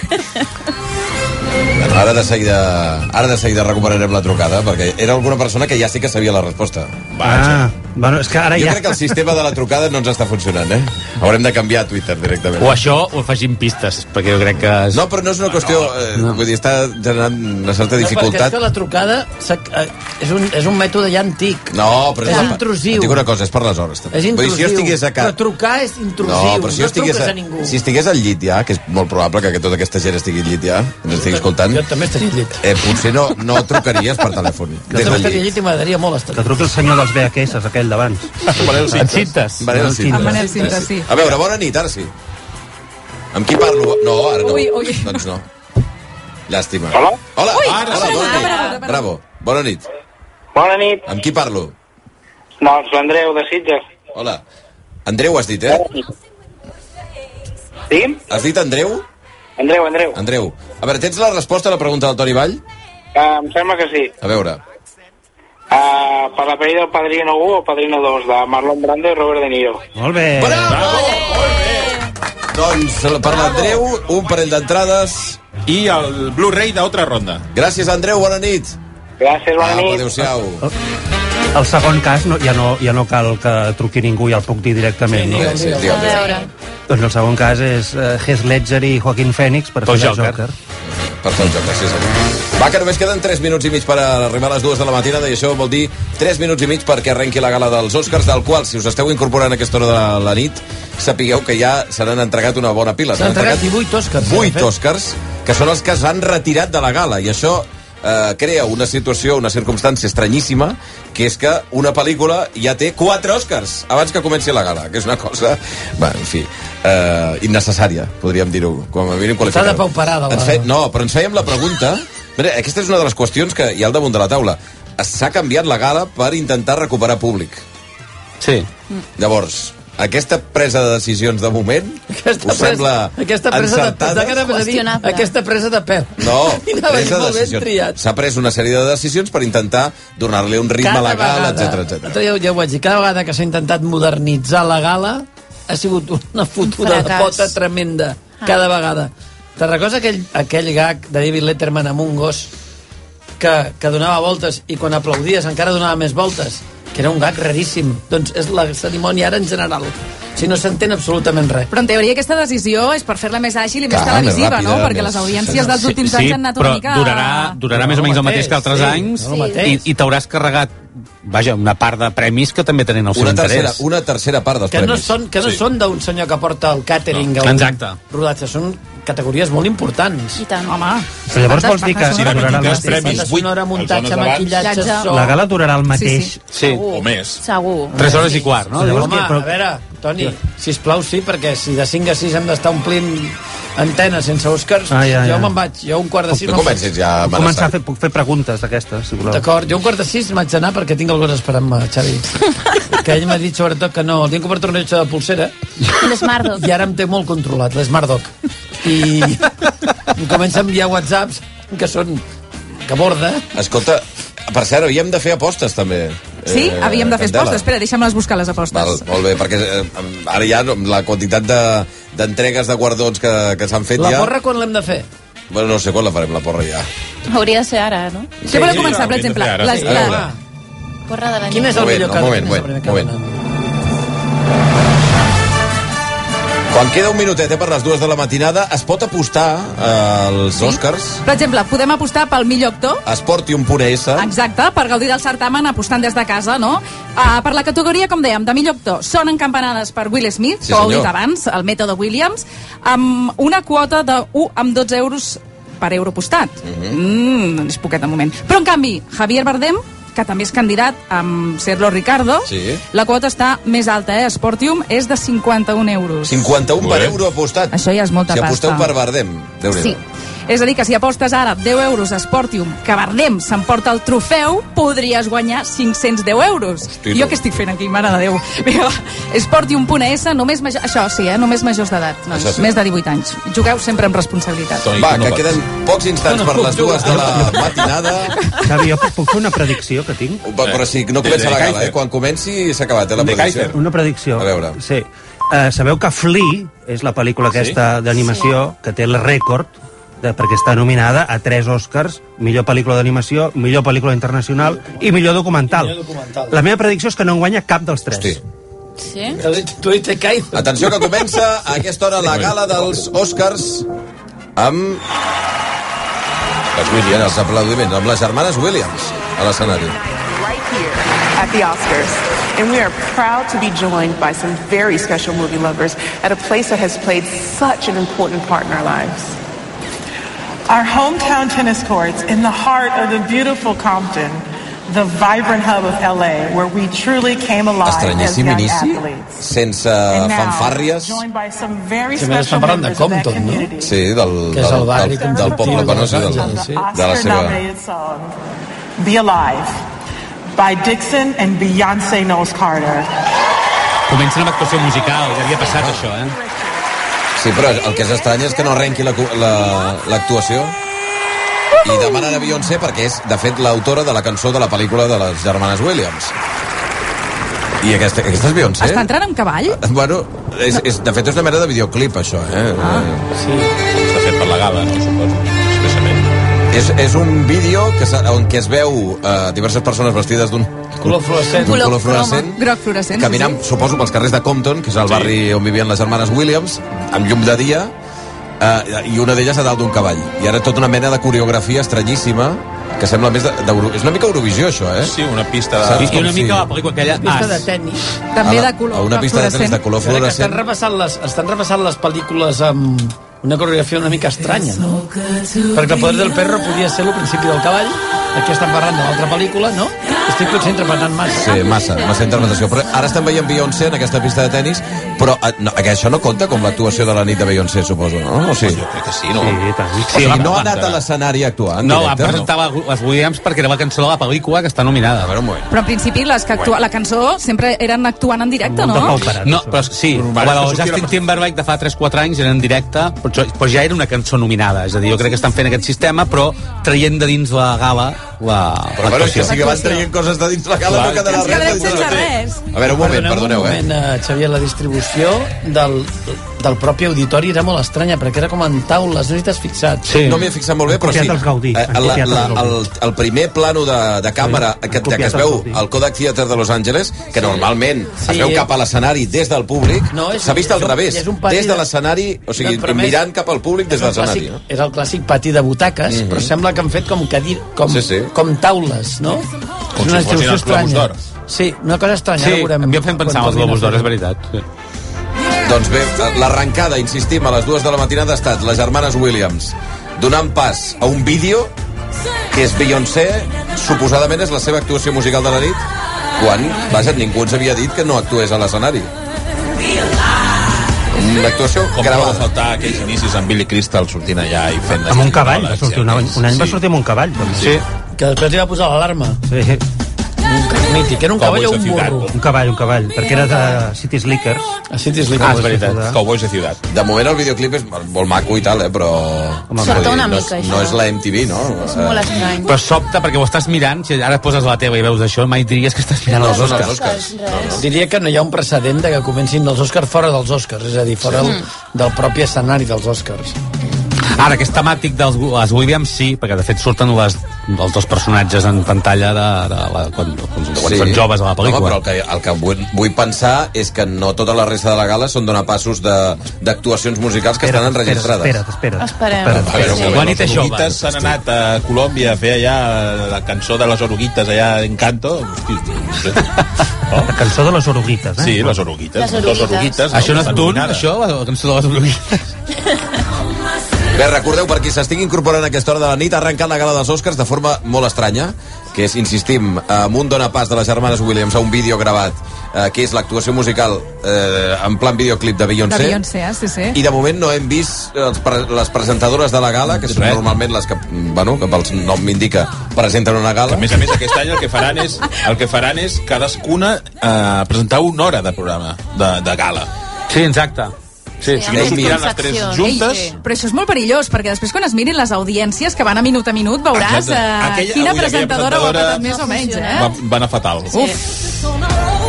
Ara de seguida, ara de seguida recuperarem la trucada, perquè era alguna persona que ja sí que sabia la resposta.
Ah, bueno, és que ara
jo
ja...
crec que el sistema de la trucada no ens està funcionant, eh? Haurem de canviar a Twitter directament.
O això, o afegim pistes, perquè jo crec que... És...
No, però no és una qüestió... Eh, no. Vull dir, està generant una certa
No, perquè és
dificultat.
que la trucada s'ha- eh, és un, és un mètode ja antic.
No, però...
És
la-
intrusiu.
Et dic una cosa, és per les hores. També.
És
Vull
intrusiu.
dir, si jo estigués a casa...
Però trucar és intrusiu,
No, però si jo
no
estigués,
truques a,
a,
ningú.
si estigués al llit ja, que és molt probable que tota aquesta gent estigui al llit ja, ens estigui escoltant,
Jo també estaria al llit.
eh, potser no, no trucaries per telèfon.
Jo també
Des del
estaria
llit.
al llit i m'agradaria molt estar.
Que truqui el senyor dels VHS, aquell d'abans.
Manel
En Cintes.
Manel Cintes.
En Manel Cintes, sí.
A veure, bona nit, ara sí. Amb qui parlo? No, ara no.
Ui, ui.
Doncs no. Llàstima. Hola? Hola,
Ui,
ara,
hola,
sí,
bona
bona
nit.
nit. Bravo, bona nit.
Bona nit.
Amb qui parlo?
Doncs l'Andreu de Sitges.
Hola. Andreu has dit, eh?
Digui'm?
Has dit Andreu?
Andreu, Andreu.
Andreu. A veure, tens la resposta a la pregunta del Toni Vall?
Uh, em sembla que sí.
A veure.
Uh, per la pel·li del Padrino 1 o Padrino 2, de Marlon Brando i Robert De Niro.
Molt bé.
Doncs per l'Andreu, un parell d'entrades.
I el Blu-ray d'altra ronda.
Gràcies, Andreu, bona nit.
Gràcies,
bona Apa, nit. Adéu-siau.
Oh. El segon cas no, ja, no, ja no cal que truqui ningú, ja el puc dir directament. no?
Sí, sí,
A veure.
Doncs el segon cas és uh, Heath Ledger i Joaquin Phoenix per
Pel
fer
Joker.
Joker.
Per tot, gràcies a tu. Va, que només queden 3 minuts i mig per arribar a les 2 de la matinada i això vol dir 3 minuts i mig perquè arrenqui la gala dels Oscars, del qual, si us esteu incorporant a aquesta hora de la nit, sapigueu que ja se n'han entregat una bona pila.
S'han entregat 18 Òscars. eh, de
8
fet.
Oscars, que són els que s'han retirat de la gala, i això eh, crea una situació, una circumstància estranyíssima, que és que una pel·lícula ja té 4 Oscars abans que comenci la gala, que és una cosa, va, en fi, eh, innecessària, podríem dir-ho, com a mínim
S'ha
qualificar
de pauperar de la...
ens fe... No, però ens fèiem la pregunta... Mira, aquesta és una de les qüestions que hi ha al damunt de la taula. S'ha canviat la gala per intentar recuperar públic.
Sí.
Llavors, aquesta presa de decisions de moment aquesta us
presa-
sembla
Aquesta presa de
encertada?
pensar que anaves a dir,
Qüestionable.
aquesta presa de pèl.
No,
I anava a dir,
presa de
molt ben triat.
decisions. S'ha pres una sèrie de decisions per intentar donar-li un ritme a la gala, etc etc.
Ja, ja ho vaig dir, cada vegada que s'ha intentat modernitzar la gala ha sigut una fotuda de
Fracàs.
pota tremenda,
Ah.
cada vegada. Te'n recordes aquell, aquell gag de David Letterman amb un gos que, que donava voltes i quan aplaudies encara donava més voltes? Que era un gag raríssim. Doncs és la cerimònia ara en general. O sigui, no s'entén absolutament res.
Però en teoria aquesta decisió és per fer-la més àgil i més
Clar,
televisiva,
més ràpida,
no? Perquè
més-
les audiències dels últims anys han anat
però
una mica...
durarà, durarà
No,
més o
no
menys el mateix
mateix,
que altres
sí,
anys
no mateix.
i, i t'hauràs carregat vaja, una part de premis que també tenen el seu
Una tercera,
interès.
una tercera part dels
Que no
premis.
són, que no sí. són d'un senyor que porta el càtering
No.
a un
Exacte.
rodatge, són categories molt importants.
I tant. Home.
Però llavors vols dir que
Sí,
durarà
durarà
el
la
mateix?
banda sonora, muntatge, maquillatge,
Llatge.
so...
La gala durarà el mateix.
Sí,
sí.
O més.
Segur.
Tres hores i quart, no?
Llavors,
Llavors,
Home,
què, però-
a veure, Toni, sisplau, sí, perquè si de 5 a 6 hem d'estar omplint Antena sense Oscars,
Ai, ai,
jo
ai.
me'n vaig. Jo un quart de sis...
Tu
me'n faig.
comences ja a Puc començar a fer, puc fer preguntes d'aquestes, si voleu.
D'acord, jo un quart de sis m'haig d'anar perquè tinc el gos esperant-me, eh, Xavi. que ell m'ha dit sobretot que no, el tinc per torneig de pulsera.
L'Smart Dog.
I ara em té molt controlat, l'Smart Dog. I em comença a enviar whatsapps que són que borda.
Escolta, per cert, havíem de fer apostes, també.
Sí?
Eh,
Havíem de fer
Candela.
apostes. Espera, deixa'm-les buscar, les apostes.
Val, molt bé, perquè eh, ara ja no- la quantitat de- d'entregues de, de guardons que, que s'han fet
La
ja...
porra quan l'hem de fer?
Bueno, no sé quan la farem, la porra, ja.
Hauria de ser ara, no?
Sí, Què voleu sí, començar, per hauríem de exemple? fer ara, Les- sí. la-
Ara.
Porra de la nit.
Quin és el
Un moment,
millor
un
cada?
moment,
Quin és el
moment,
primer
moment. Quan queda un minutet eh, per les dues de la matinada, es pot apostar eh, als sí? Oscars?
Per exemple, podem apostar pel millor actor,
Esportium.es.
Exacte, per gaudir del certamen apostant des de casa, no? Uh, per la categoria, com dèiem, de millor actor, sonen campanades per Will Smith,
Sí,
que ho heu
senyor.
dit abans, el mètode Williams, amb una quota de 1 amb 12 euros per euro apostat.
Mhm.
Mm, és poquet de moment. Però, en canvi, Javier Bardem, que també és candidat amb Serlo Ricardo,
Sí.
la quota està més alta, eh? Esportium és de 51 euros.
51 per
Bé.
euro apostat.
Això ja és molta
si Si aposteu
pasta.
per Bardem, déu nhi
Sí. És a dir, que si apostes ara 10 euros a Sportium, que Bardem s'emporta el trofeu, podries guanyar 510 euros.
Hosti,
jo
tu.
què estic fent aquí, mare de Déu? Vinga, va. Sportium.es, només major... això sí, eh? només majors d'edat, nois,
Això sí.
més de 18 anys. Jugueu sempre amb responsabilitat.
Va, que queden pocs instants per les dues de la matinada.
Xavi, jo puc, puc fer una predicció que tinc?
Però, però si no
De-
comença
de
la gala,
Kaiser.
eh? Quan comenci s'ha acabat, eh, la
De
predicció.
Kaiser. Una predicció.
A veure.
Sí. Uh, sabeu que Flea és la pel·lícula
Ah, Sí?
aquesta d'animació que té el rècord de, perquè està nominada a tres Oscars, millor pel·lícula d'animació, millor pel·lícula internacional i millor documental.
documental.
La meva predicció és que no en guanya cap dels tres. Hosti.
Sí?
Tu hi te caig.
Atenció que comença a aquesta hora la gala dels Oscars amb... Els Williams, els aplaudiments, amb les germanes Williams a l'escenari.
at the Oscars. And we are proud to be joined by some very special movie lovers at a place that has played such an important part in our lives.
Our hometown tennis courts in the heart of the beautiful Compton, the vibrant hub of LA, where we truly came alive as
Estranyíssim
young
inici,
athletes.
sense
Uh,
And now,
fanfàrries.
joined by some very
Sí, a més, estan
special
parlant de
members of that
Compton, no?
community.
Sí, del,
Que és
del,
el barri
del, del poble,
competitiu
però no sé,
de Los
del,
Angeles, sí.
de la seva...
Oscar-nominated song, Be Alive, by Dixon and Beyonce Knowles Carter.
Comencen amb actuació musical, ja havia
Ah.
passat això, eh?
Sí, però el que és estrany és que no arrenqui l'actuació. La, l'actuació. I demanen a Beyoncé perquè és, de fet, l'autora de la cançó de la pel·lícula de les germanes Williams. I aquesta, aquesta és Beyoncé?
Està entrant amb cavall?
Bueno, és, és, de fet és una mena de videoclip, això, eh? Ah, sí. Està fet per la gala, no suposo, expressament. És, és un vídeo que s'ha- on que es veu eh, diverses persones vestides d'un
Color fluorescent.
d'un color fluorescent
Groc fluorescent.
caminant, suposo, pels carrers de Compton, que és el barri on vivien les germanes Williams, amb llum de dia, eh, i una d'elles a dalt d'un cavall. I ara tota una mena de coreografia estranyíssima, que sembla més de- d'Euro... És una mica Eurovisió, això, eh? Sí, una pista
de- I una mica la pel·lícula aquella,
Ah.
Pista de tennis.
També A la- de color
a una pista de tennis de color
Espera, que
fluorescent.
Estan repassant les, estan repassant les pel·lícules amb una coreografia una mica estranya. No? Perquè el poder del perro podia ser el principi del cavall, aquí estan parlant de l'altra pel·lícula, no? Estic potser interpretant massa.
Sí, massa, massa interpretació. Però ara estem veient Beyoncé en aquesta pista de tennis, però eh, no, que això no compta com l'actuació de la nit de Beyoncé, suposo, no? O sigui, jo crec que sí, no? Sí,
tant.
O sigui, no ha anat a l'escenari a actuar, Ah, en
Ah, No, va
directe?
presentar les Williams perquè era la cançó de la pel·lícula que està nominada. A
veure, un moment.
Però en principi les que actua... la cançó sempre eren actuant en directe, no?
No, però sí,
és
la
que
del
sortia
Justin
la-
Timberlake de fa 3-4 anys era en directe, però, jo- però ja era una cançó nominada. És a dir, jo crec que estan fent aquest sistema, però traient de dins la gala la...
Però bueno, si, si van traient coses de dins la gala, no quedarà res. de dins la- A veure, un moment, perdoneu,
un
eh?
moment, eh? Xavier, la distribució del, del propi auditori era molt estranya, perquè era com en taules, no hi t'has fixat.
No m'hi he fixat molt bé, però sí. Eh, la, la, el, el primer plano de, de càmera
han
que, que
copiat
es
els
veu
Gaudí.
al Kodak Theater de Los Angeles, que normalment
Sí,
es veu
eh?
cap a l'escenari des del públic,
No, és-
s'ha vist
és
al
un-
revés,
és un pati
des de
de-
l'escenari, o sigui,
No, però més-
mirant cap al públic des
és,
de
el
l'escenari.
clàssic,
eh?
no?
és el clàssic pati de butaques,
Mhm.
mm -hmm. però sembla que han fet com cadir, com,
Sí,
sí,
sí.
sí. com taules, no?
si
és una
fossin
distribució
els Globus
estranya.
d'Or.
Sí, una cosa estranya.
Sí,
ara veurem
em fem pensar
quan
en els Globus d'Or,
tornin a
és veritat. Sí.
Doncs bé, l'arrencada, insistim, a les dues de la matinada ha estat les germanes Williams donant pas a un vídeo que és Beyoncé, suposadament és la seva actuació musical de la nit, quan, vaja, ningú ens havia dit que no actués a l'escenari. Una actuació
Com que va faltar aquells inicis amb Billy Crystal sortint allà i fent...
Amb un cavall, va sortir un, any- un any va
Sí.
sortir amb un cavall. Doncs.
Sí.
Que després li va posar l'alarma. Sí. Mític, era
un cavall o un burro?
Un cavall, un cavall, perquè era de City Slickers. A City
Ah, és veritat.
Cowboys de ciutat.
De moment el videoclip és molt maco i tal, eh, però...
Home,
vull
Sobta
dir,
una
no,
mica,
és-
això.
no és la MTV, no? Eh,
estrany. Però sobta, perquè ho estàs mirant, si ara et poses a la teva i veus això, mai diries que estàs mirant els Oscars.
Diria que no hi ha un precedent de que comencin els Oscars fora dels Oscars, és a dir, fora
Sí.
del, del propi escenari dels Oscars.
Ara, que és temàtic dels les Williams, sí, perquè de fet surten les, els dos personatges en pantalla de, de la, quan, quan, quan són joves a la pel·lícula.
Home, però el que, el que vull, vull pensar és que no tota la resta de la gala són donapassos de- d'actuacions musicals que estan enregistrades.
Espera't, espera't.
Esperem.
les oruguites s'han anat a Colòmbia a fer allà la cançó de les oruguites allà en canto. Hosti, no sé.
La cançó de les oruguites, eh?
Sí, les oruguites.
Les oruguites.
Dos oruguites.
Això no és
Estan
tu,
nominades.
això, la cançó de les oruguites?
Bé, recordeu, per qui s'estigui incorporant a aquesta hora de la nit, ha arrencat la gala dels Oscars de forma molt estranya, que és, insistim, amb un donapàs de les germanes Williams a un vídeo gravat, eh, que és l'actuació musical eh, en plan videoclip de
De
Beyoncé.
Beyoncé, eh? sí, sí.
I de moment no hem vist eh, els pre les presentadores de la gala, que són normalment les que, mm, bueno, que pel nom m'indica, presenten una gala.
A més a més, aquest any el que faran és, el que faran és cadascuna eh, presentar una hora de programa, de, de gala.
Sí, exacte.
Sí, o sigui, no sortiran les tres juntes.
Ei, eh, però això és molt perillós, perquè després quan es mirin les audiències que van a minut a minut veuràs
Exacte.
eh,
Aquella-
quina
avui aquella
presentadora ho ha
presentadora
patat més o menys, eh?
Va, va anar fatal.
Uf,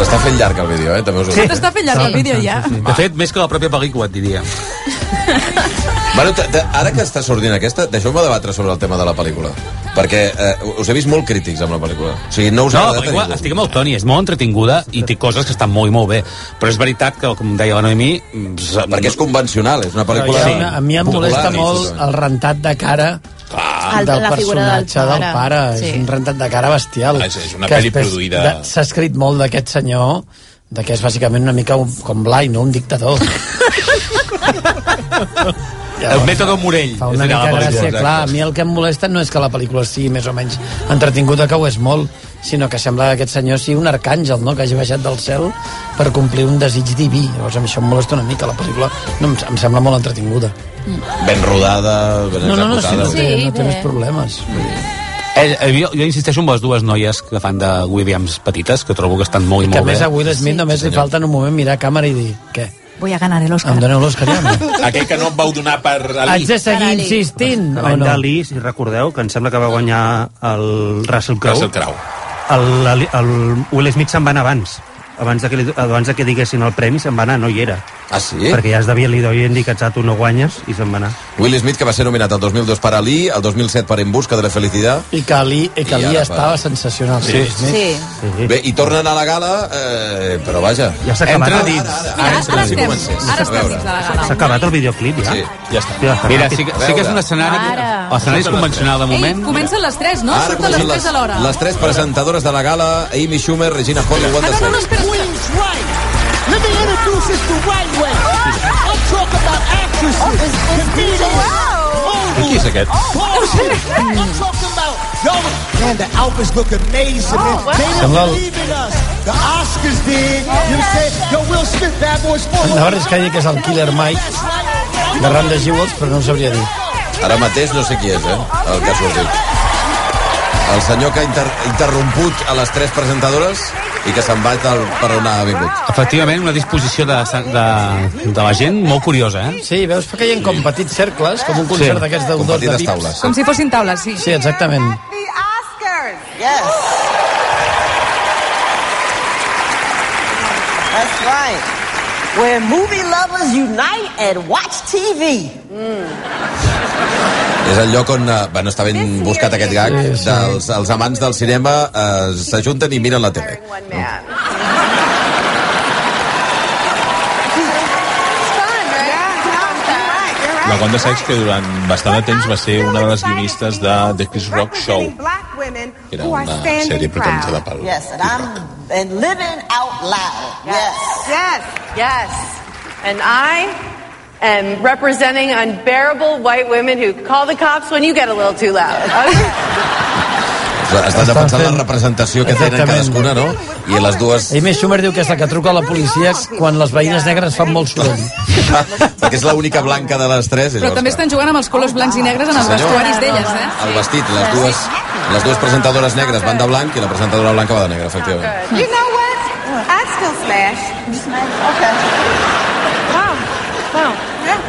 S'està fent llarg el vídeo, eh? També us ho dic.
s'està fent llarg el vídeo ja.
De fet, més que la pròpia pel·lícula, et diria.
Bueno, t- t- ara que està sortint aquesta, deixeu-me debatre sobre el tema de la pel·lícula. Perquè eh, us he vist molt crítics amb la pel·lícula. O sigui, no us ha
no,
agradat a
igual,
ningú.
estic amb el Toni, és molt entretinguda i té coses que estan molt i molt bé. Però és veritat que, com deia la Noemí... Perquè
és convencional, és una
Però hi ha una, a mi em molesta molt el rentat de cara
Clar.
del
La figura del
personatge del
pare.
pare.
Sí.
És un rentat de cara bestial.
És- és una
Que
pel·li
després
produïda.
de- S'ha escrit molt d'aquest senyor de que és bàsicament una mica un, com Blai, no? Un dictador.
El mètode Morell.
Fa una
és a dir,
mica
la pel·lícula,
gràcia,
exacte.
clar. A mi el que em molesta no és que la pel·lícula sigui més o menys entretinguda, que ho és molt, sinó que sembla que aquest senyor sigui un arcàngel, no?, que hagi baixat del cel per complir un desig diví. Llavors, a mi això em molesta una mica. La pel·lícula no, em, em sembla molt entretinguda.
Ben rodada, ben
No, no, no, sí,
executada.
no, té, no té més problemes.
Eh, eh, jo, jo insisteixo amb les dues noies que fan de Williams petites, que trobo que estan molt i
Que a
molt bé.
més a Will Smith només li falta en un moment mirar a càmera i dir, què?
Voy a ganar el Oscar.
Em doneu l'Òscar ja? o no?"
Aquell que no em vau donar per
Haig
Ali.
de seguir insistint, o
L'any
no?
d'Ali, si recordeu, que em sembla que va guanyar el Russell Crowe.
Russell Crowe.
El, el, el Will Smith se'n va anar abans. Abans de, que, li- abans de que diguessin el premi se'n va anar, no hi era.
Ah, sí?
Perquè ja es devia, li devien dir que "Ah, tu no guanyes i se'n va anar.
Will Smith, que va ser nominat el 2002 per Ali, el 2007 per En busca de la felicitat.
I que Ali, i que
I
Ali
ara
estava
fa-
sensacional.
Sí.
Will Smith.
Sí. Bé, i tornen a la gala, eh, però vaja.
Ja s'ha acabat.
Entra
Ara,
dins.
ara,
ara. Ara
entra
estem,
dins.
ara
A veure.
estem dins de la gala.
S'ha acabat el videoclip, ja?
Sí, ja està.
Mira, sí, que- sí que és un escenari...
Ara.
L'escenari és convencional, de moment.
Ei, comencen les 3, no?
Ara
Surten les
comencen
3 a l'hora.
les tres presentadores de la gala, Amy Schumer, Regina Hall i Wanda Sykes.
Queen's right. Let me introduce this the right way. I'm talking about actresses, comedians,
Qui és aquest?
Oh,
models. I'm talking about y'all. Man, the outfits look amazing. man.
Oh, wow.
They didn't
Hello.
believe in us. The Oscars did. You know what I'm saying? Yo, Will Smith, Bad Boys 4.
Anava a arriscar a dir que és el Killer Mike de Randa Jewels, però no ho sabria dir.
Ara mateix no sé qui és, eh, el que ha sortit. El senyor que ha inter interromput a les tres presentadores i que se'n va del, per on ha vingut.
Efectivament, una disposició de, de, de la gent molt curiosa, eh?
Sí, veus que caien com petits cercles, com un concert
Sí.
d'aquests
Com
d'un dos de
petites
pips.
taules,
Com si fossin taules, sí.
Sí, exactament.
Yes. That's right. Where movie lovers unite and watch TV.
És el lloc on, eh, bueno, està ben buscat aquest gag, dels els amants del cinema eh, s'ajunten i miren la tele.
La Wanda Sykes, que durant bastant de temps va ser una de les guionistes de The Chris Rock Show.
Black women
Que era
who are
una
standing
sèrie protagonitzada
proud.
pel
Yes, and I'm and living out loud. Yes.
Yes, yes. And I am representing unbearable white women who call the cops when you get a little too loud.
Estan defensant la representació que tenen cadascuna, no? I les dues...
Amy Schumer diu que és la que truca a la policia quan les veïnes negres fan molt soroll.
Perquè és l'única blanca de les tres. i
Però
llavors,
també estan jugant amb els colors blancs i negres en els
Sí, senyor.
vestuaris d'elles, eh?
El vestit, les dues, les dues presentadores negres van de blanc i la presentadora blanca va de negre, efectivament.
You know what? I still smash. You smash? Okay. Wow. Wow. Yeah.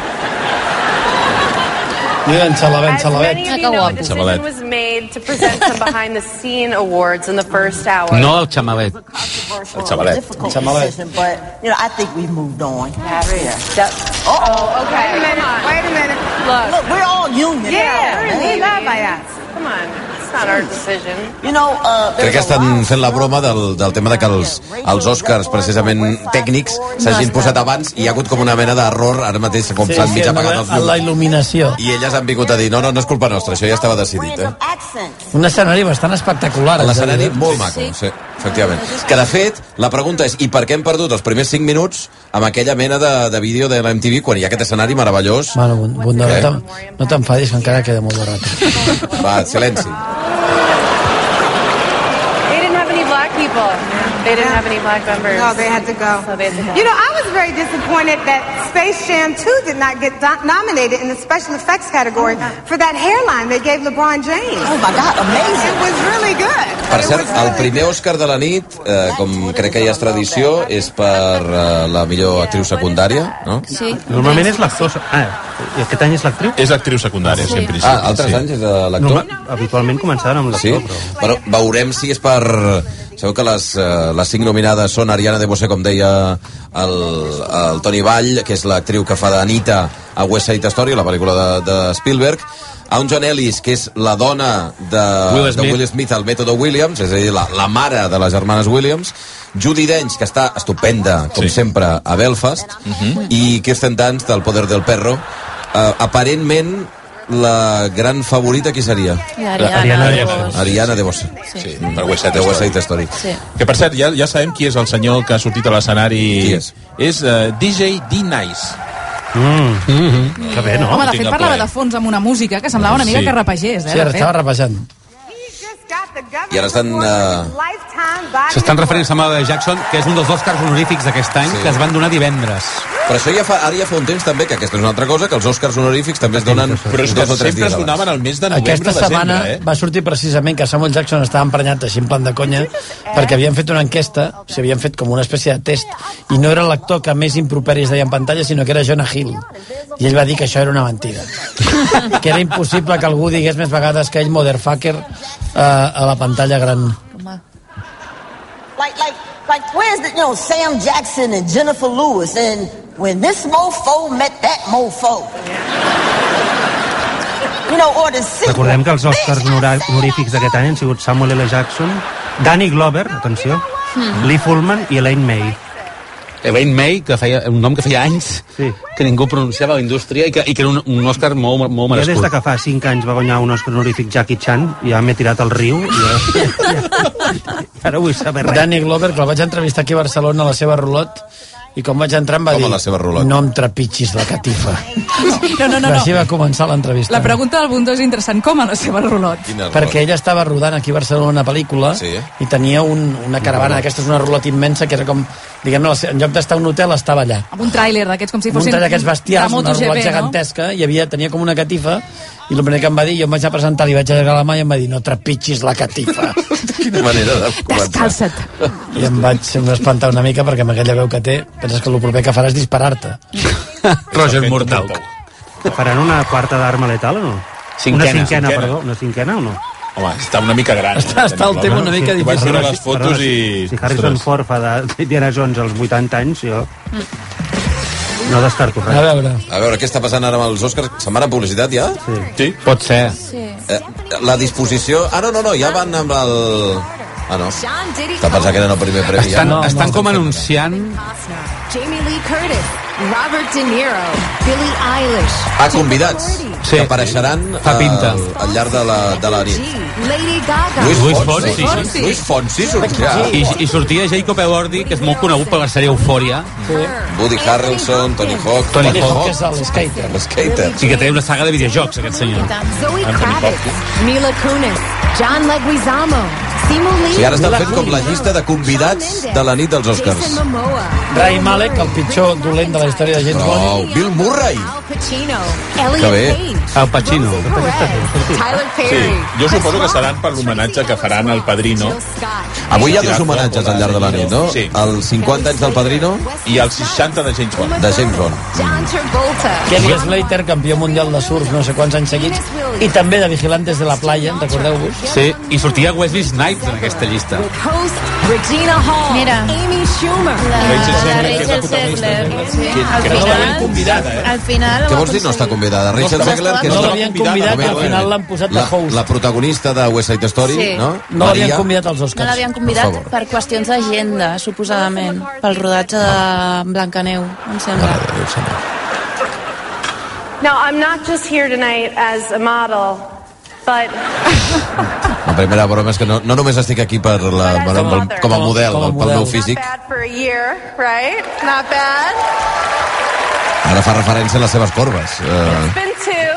Mira, en Xalavet,
As many of
Xalavet.
you know, a decision was made to present some behind the scene awards in the first hour.
No el xamalet. El xavalet.
Difficult decision, but you know, I think we've moved on.
That's- that- oh, okay. Wait a minute. Wait a minute. Look.
Look, we're all human.
Yeah,
now,
we're in
man.
the Leviaths. Come on. It's not our decision.
You know, uh,
Crec que estan fent la broma del, del tema de que els, els Oscars, precisament tècnics, s'hagin posat abans i hi ha hagut com una mena d'error ara mateix, com s'han mig apagat els
en la
llums.
il·luminació.
I elles han vingut a dir, no, no, no és culpa nostra, això ja estava decidit, eh?
Un escenari bastant espectacular.
A
haig de
L'escenari
dir, eh?
molt maco, sí, efectivament. Que, de fet, la pregunta és i per què hem perdut els primers 5 minuts amb aquella mena de, de vídeo de la MTV quan hi ha aquest escenari meravellós?
Bueno, bon, bon, no
Eh?
t'en- no t'enfadis, que encara queda molt de rato.
Va, silenci.
They didn't have any black people. They didn't have any black members.
No, they had to go.
So they had to go.
You know, I was very disappointed that Space Jam 2 did not get do- nominated in the special effects category for that hairline they gave LeBron James. Oh my God, amazing. It was really good.
Per cert, el primer Oscar de la nit, eh, com crec que ja és tradició, és per eh, la millor actriu secundària, no?
Sí.
Normalment és l'actor... Ah, i aquest any és l'actriu?
És actriu secundària,
sí, en principi, Ah, altres sí. anys és, eh, l'actor?
No, habitualment començaven amb
Sí?
l'actor, però...
Però veurem si és per... Sabeu que les, eh, les cinc nominades són Ariana de Bosé, com deia el, el Toni Vall, que és l'actriu que fa d'Anita a West Side Story, la pel·lícula de, de Spielberg, a un John Ellis, que és la dona de
Will
de
Smith.
Will Smith al mètode Williams, és a dir, la, la mare de les germanes Williams, Judy Dench, que està estupenda, com sí. sempre, a Belfast,
Mhm.
i Kirsten Dunst, del Poder del Perro. Eh, aparentment, la gran favorita qui seria?
La Ariana Ariana de de Bosé. Bosé.
Ariana de Bosé.
Sí. sí. Per West Side
De West
Story.
Side Story.
Sí. Que, per cert, ja, ja sabem qui és el senyor que ha sortit a l'escenari. Qui és? És uh, DJ D-Nice. Mm. Mm -hmm. Que bé,
No, Home, de fet parlava de fons amb una música que semblava una mica
Sí.
que repegés, eh?
Sí, ara
de fet.
estava
repegent.
I ara estan... Eh,
S'estan referint a Samuel L. Jackson, que és un dels Oscars honorífics d'aquest any, sí. que es van donar divendres.
però això ja fa, ara ja fa un temps també, que aquesta és una altra cosa, que els Oscars honorífics també es donen
Però és que
dos o
sempre
tres
es
dies
donaven
abans.
al mes de novembre,
Aquesta setmana
desembre, eh?
va sortir precisament que Samuel Jackson estava emprenyat així en plan de
Eh?
conya perquè havien fet una enquesta, o sigui, havien fet com una espècie de test i no era l'actor que més improperis deia en pantalla, sinó que era Jonah Hill. I ell va dir que això era una mentida. que era impossible que algú digués més vegades que ell motherfucker eh, a la pantalla gran.
Like, like, like, where's the, you know, Sam Jackson and Jennifer Lewis and when this mofo met that mofo? You know, or the sequel.
Recordem que els Oscars honora- honorífics d'aquest any han sigut Samuel L. Jackson, Danny Glover, atenció,
Hmm.
Mm.
Lee Fullman i Elaine May.
Elaine May, que feia un nom que feia anys
sí.
que ningú pronunciava a la indústria i que, i que era un, un Oscar molt, molt
Jo des
merescut.
de que fa 5 anys va guanyar un Oscar honorífic Jackie Chan, ja m'he tirat al riu i ja, ara vull saber res.
Danny Glover, que el vaig entrevistar aquí a Barcelona a la seva rulot, i com vaig entrar em va
Com a
dir
la seva rulot?
no em trepitgis la catifa.
No, no, no,
Així
no.
va començar l'entrevista.
La pregunta del Bundó és interessant. Com a la seva rulot?
perquè ella estava rodant aquí a Barcelona una pel·lícula
Sí.
i tenia un, una caravana, aquesta és una ruleta immensa que era com, diguem-ne, la se- en lloc d'estar a un hotel estava allà.
Amb un tràiler d'aquests, com si
Si un
fossin...
tall d'aquests bestiars,
de
una
MotoGP,
ruleta gigantesca, i havia, tenia com una catifa, i el primer que em va dir, jo em vaig a presentar, li vaig allargar la mà i em va dir, no trepitgis la catifa.
Quina manera de començar.
Descalça't.
I em vaig em va espantar una mica perquè amb aquella veu que té penses que el proper que farà és disparar-te.
Roger Murtaugh.
Faran una quarta d'arma letal o no?
Cinquena.
Una cinquena,
Cinquena.
perdó. Una cinquena o no?
eh? Home, està una mica gran. eh,
Està, està el tema una mica difícil.
Sí,
eh?
Vaig veure les fotos
Perdona,
i...
Si Harrison
Ostres.
Ford fa de Diana Jones als 80 anys, jo... No descarto res.
A veure.
A veure, què està passant ara amb els Oscars? Se'n van a publicitat, ja?
Sí.
sí.
Pot ser.
Sí. Eh, la disposició... Ah, no, no, no, ja van amb el... Ah, no. T'ha pensat que eren el primer premi.
Estan,
ja.
estan com anunciant
Jamie Lee Curtis,
Robert De Niro, Billie Eilish,
A convidats sí. que apareixeran
Fa pinta.
eh, al llarg de la, de la nit.
Lady Gaga,
Luis
Luis
Fonsi.
Fonsi.
Fonsi. Luis Fonsi sortirà.
I, I sortia Jacob Elordi, que és molt conegut per la sèrie Eufòria. Sí.
Woody Harrelson, Tony Hawk.
Tony Tony Hawk. Hawk és
skater.
L'escater.
Sí que té una saga de videojocs, aquest senyor.
Zoe
Anthony
Kravitz, Mila Kunis, John Leguizamo, Simu
O
Lee,
sigui, ara estan fent com la llista de convidats de la nit dels Oscars.
Jason Momoa,
Ray Malek, el pitjor dolent de la història de James Bond.
Oh, Bill Murray.
Al Pacino, Elliot Page,
El Pacino.
Tyler
Sí,
Perry,
jo suposo que seran per l'homenatge que faran al Padrino.
Avui hi ha dos homenatges al llarg de la nit, no?
Sí.
Els 50 anys del Padrino
i els 60 de James Bond.
de James Bond.
John Travolta,
Kelly Slater, campió mundial de surf no sé quants anys seguits, i també de Vigilantes de la Playa, recordeu-vos?
Sí, i sortia Wesley Snipes en aquesta llista.
host Regina Hall, Amy Schumer,
Rachel Zegler,
que és la protagonista. Sí, al
que no l'havien
final-
convidada, eh?
Al final...
Què vols dir no està convidada? Rachel
No estava-
Zegler, que és
no
la-
l'havien convidat,
Moment,
al
moment.
final l'han posat de
La-
host.
La protagonista de West Side Story,
Sí.
no?
No l'havien
Maria.
convidat als
No
Oscars.
l'havien convidat
Per favor.
per qüestions d'agenda, suposadament, pel rodatge de Blancaneu, em sembla.
Now, I'm not just here tonight as a model, but
La primera broma és que no, no només estic aquí per la, per, com, com a model, pel, pel meu físic.
bad for a year, right? Not bad.
Ara fa referència a les seves corbes.
It's
Eh,
been two.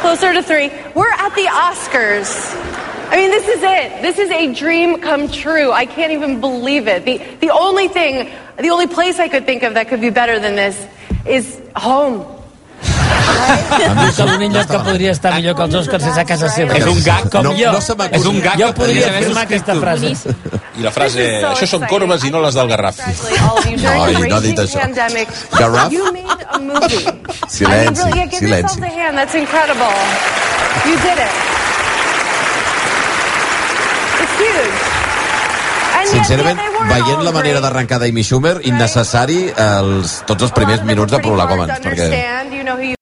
Closer to three. We're at the Oscars. I mean, this is it. This is a dream come true. I can't even believe it. The, the only thing, the only place I could think of that could be better than this is home.
Em diu que l'únic lloc que podria estar millor que els Oscars és a casa seva.
És un gag com-
com jo.
no se m'acut-
És un gag jo
que podria
podria
haver
afirmar aquesta frase.
I la frase, això són corbes i no les del Garraf.
No, i no ha dit això.
Pandemic.
Garraf?
You made a movie.
Silenci,
I mean, really, yeah, give
silenci.
yourself a hand. That's incredible. You did it. It's huge. And yet,
Sincerament,
yeah, they weren't
veient
all
la manera
great.
d'arrencar d'Amy Schumer, innecessari els, tots els primers minuts de prolegòmens, perquè...
Understand, you know who you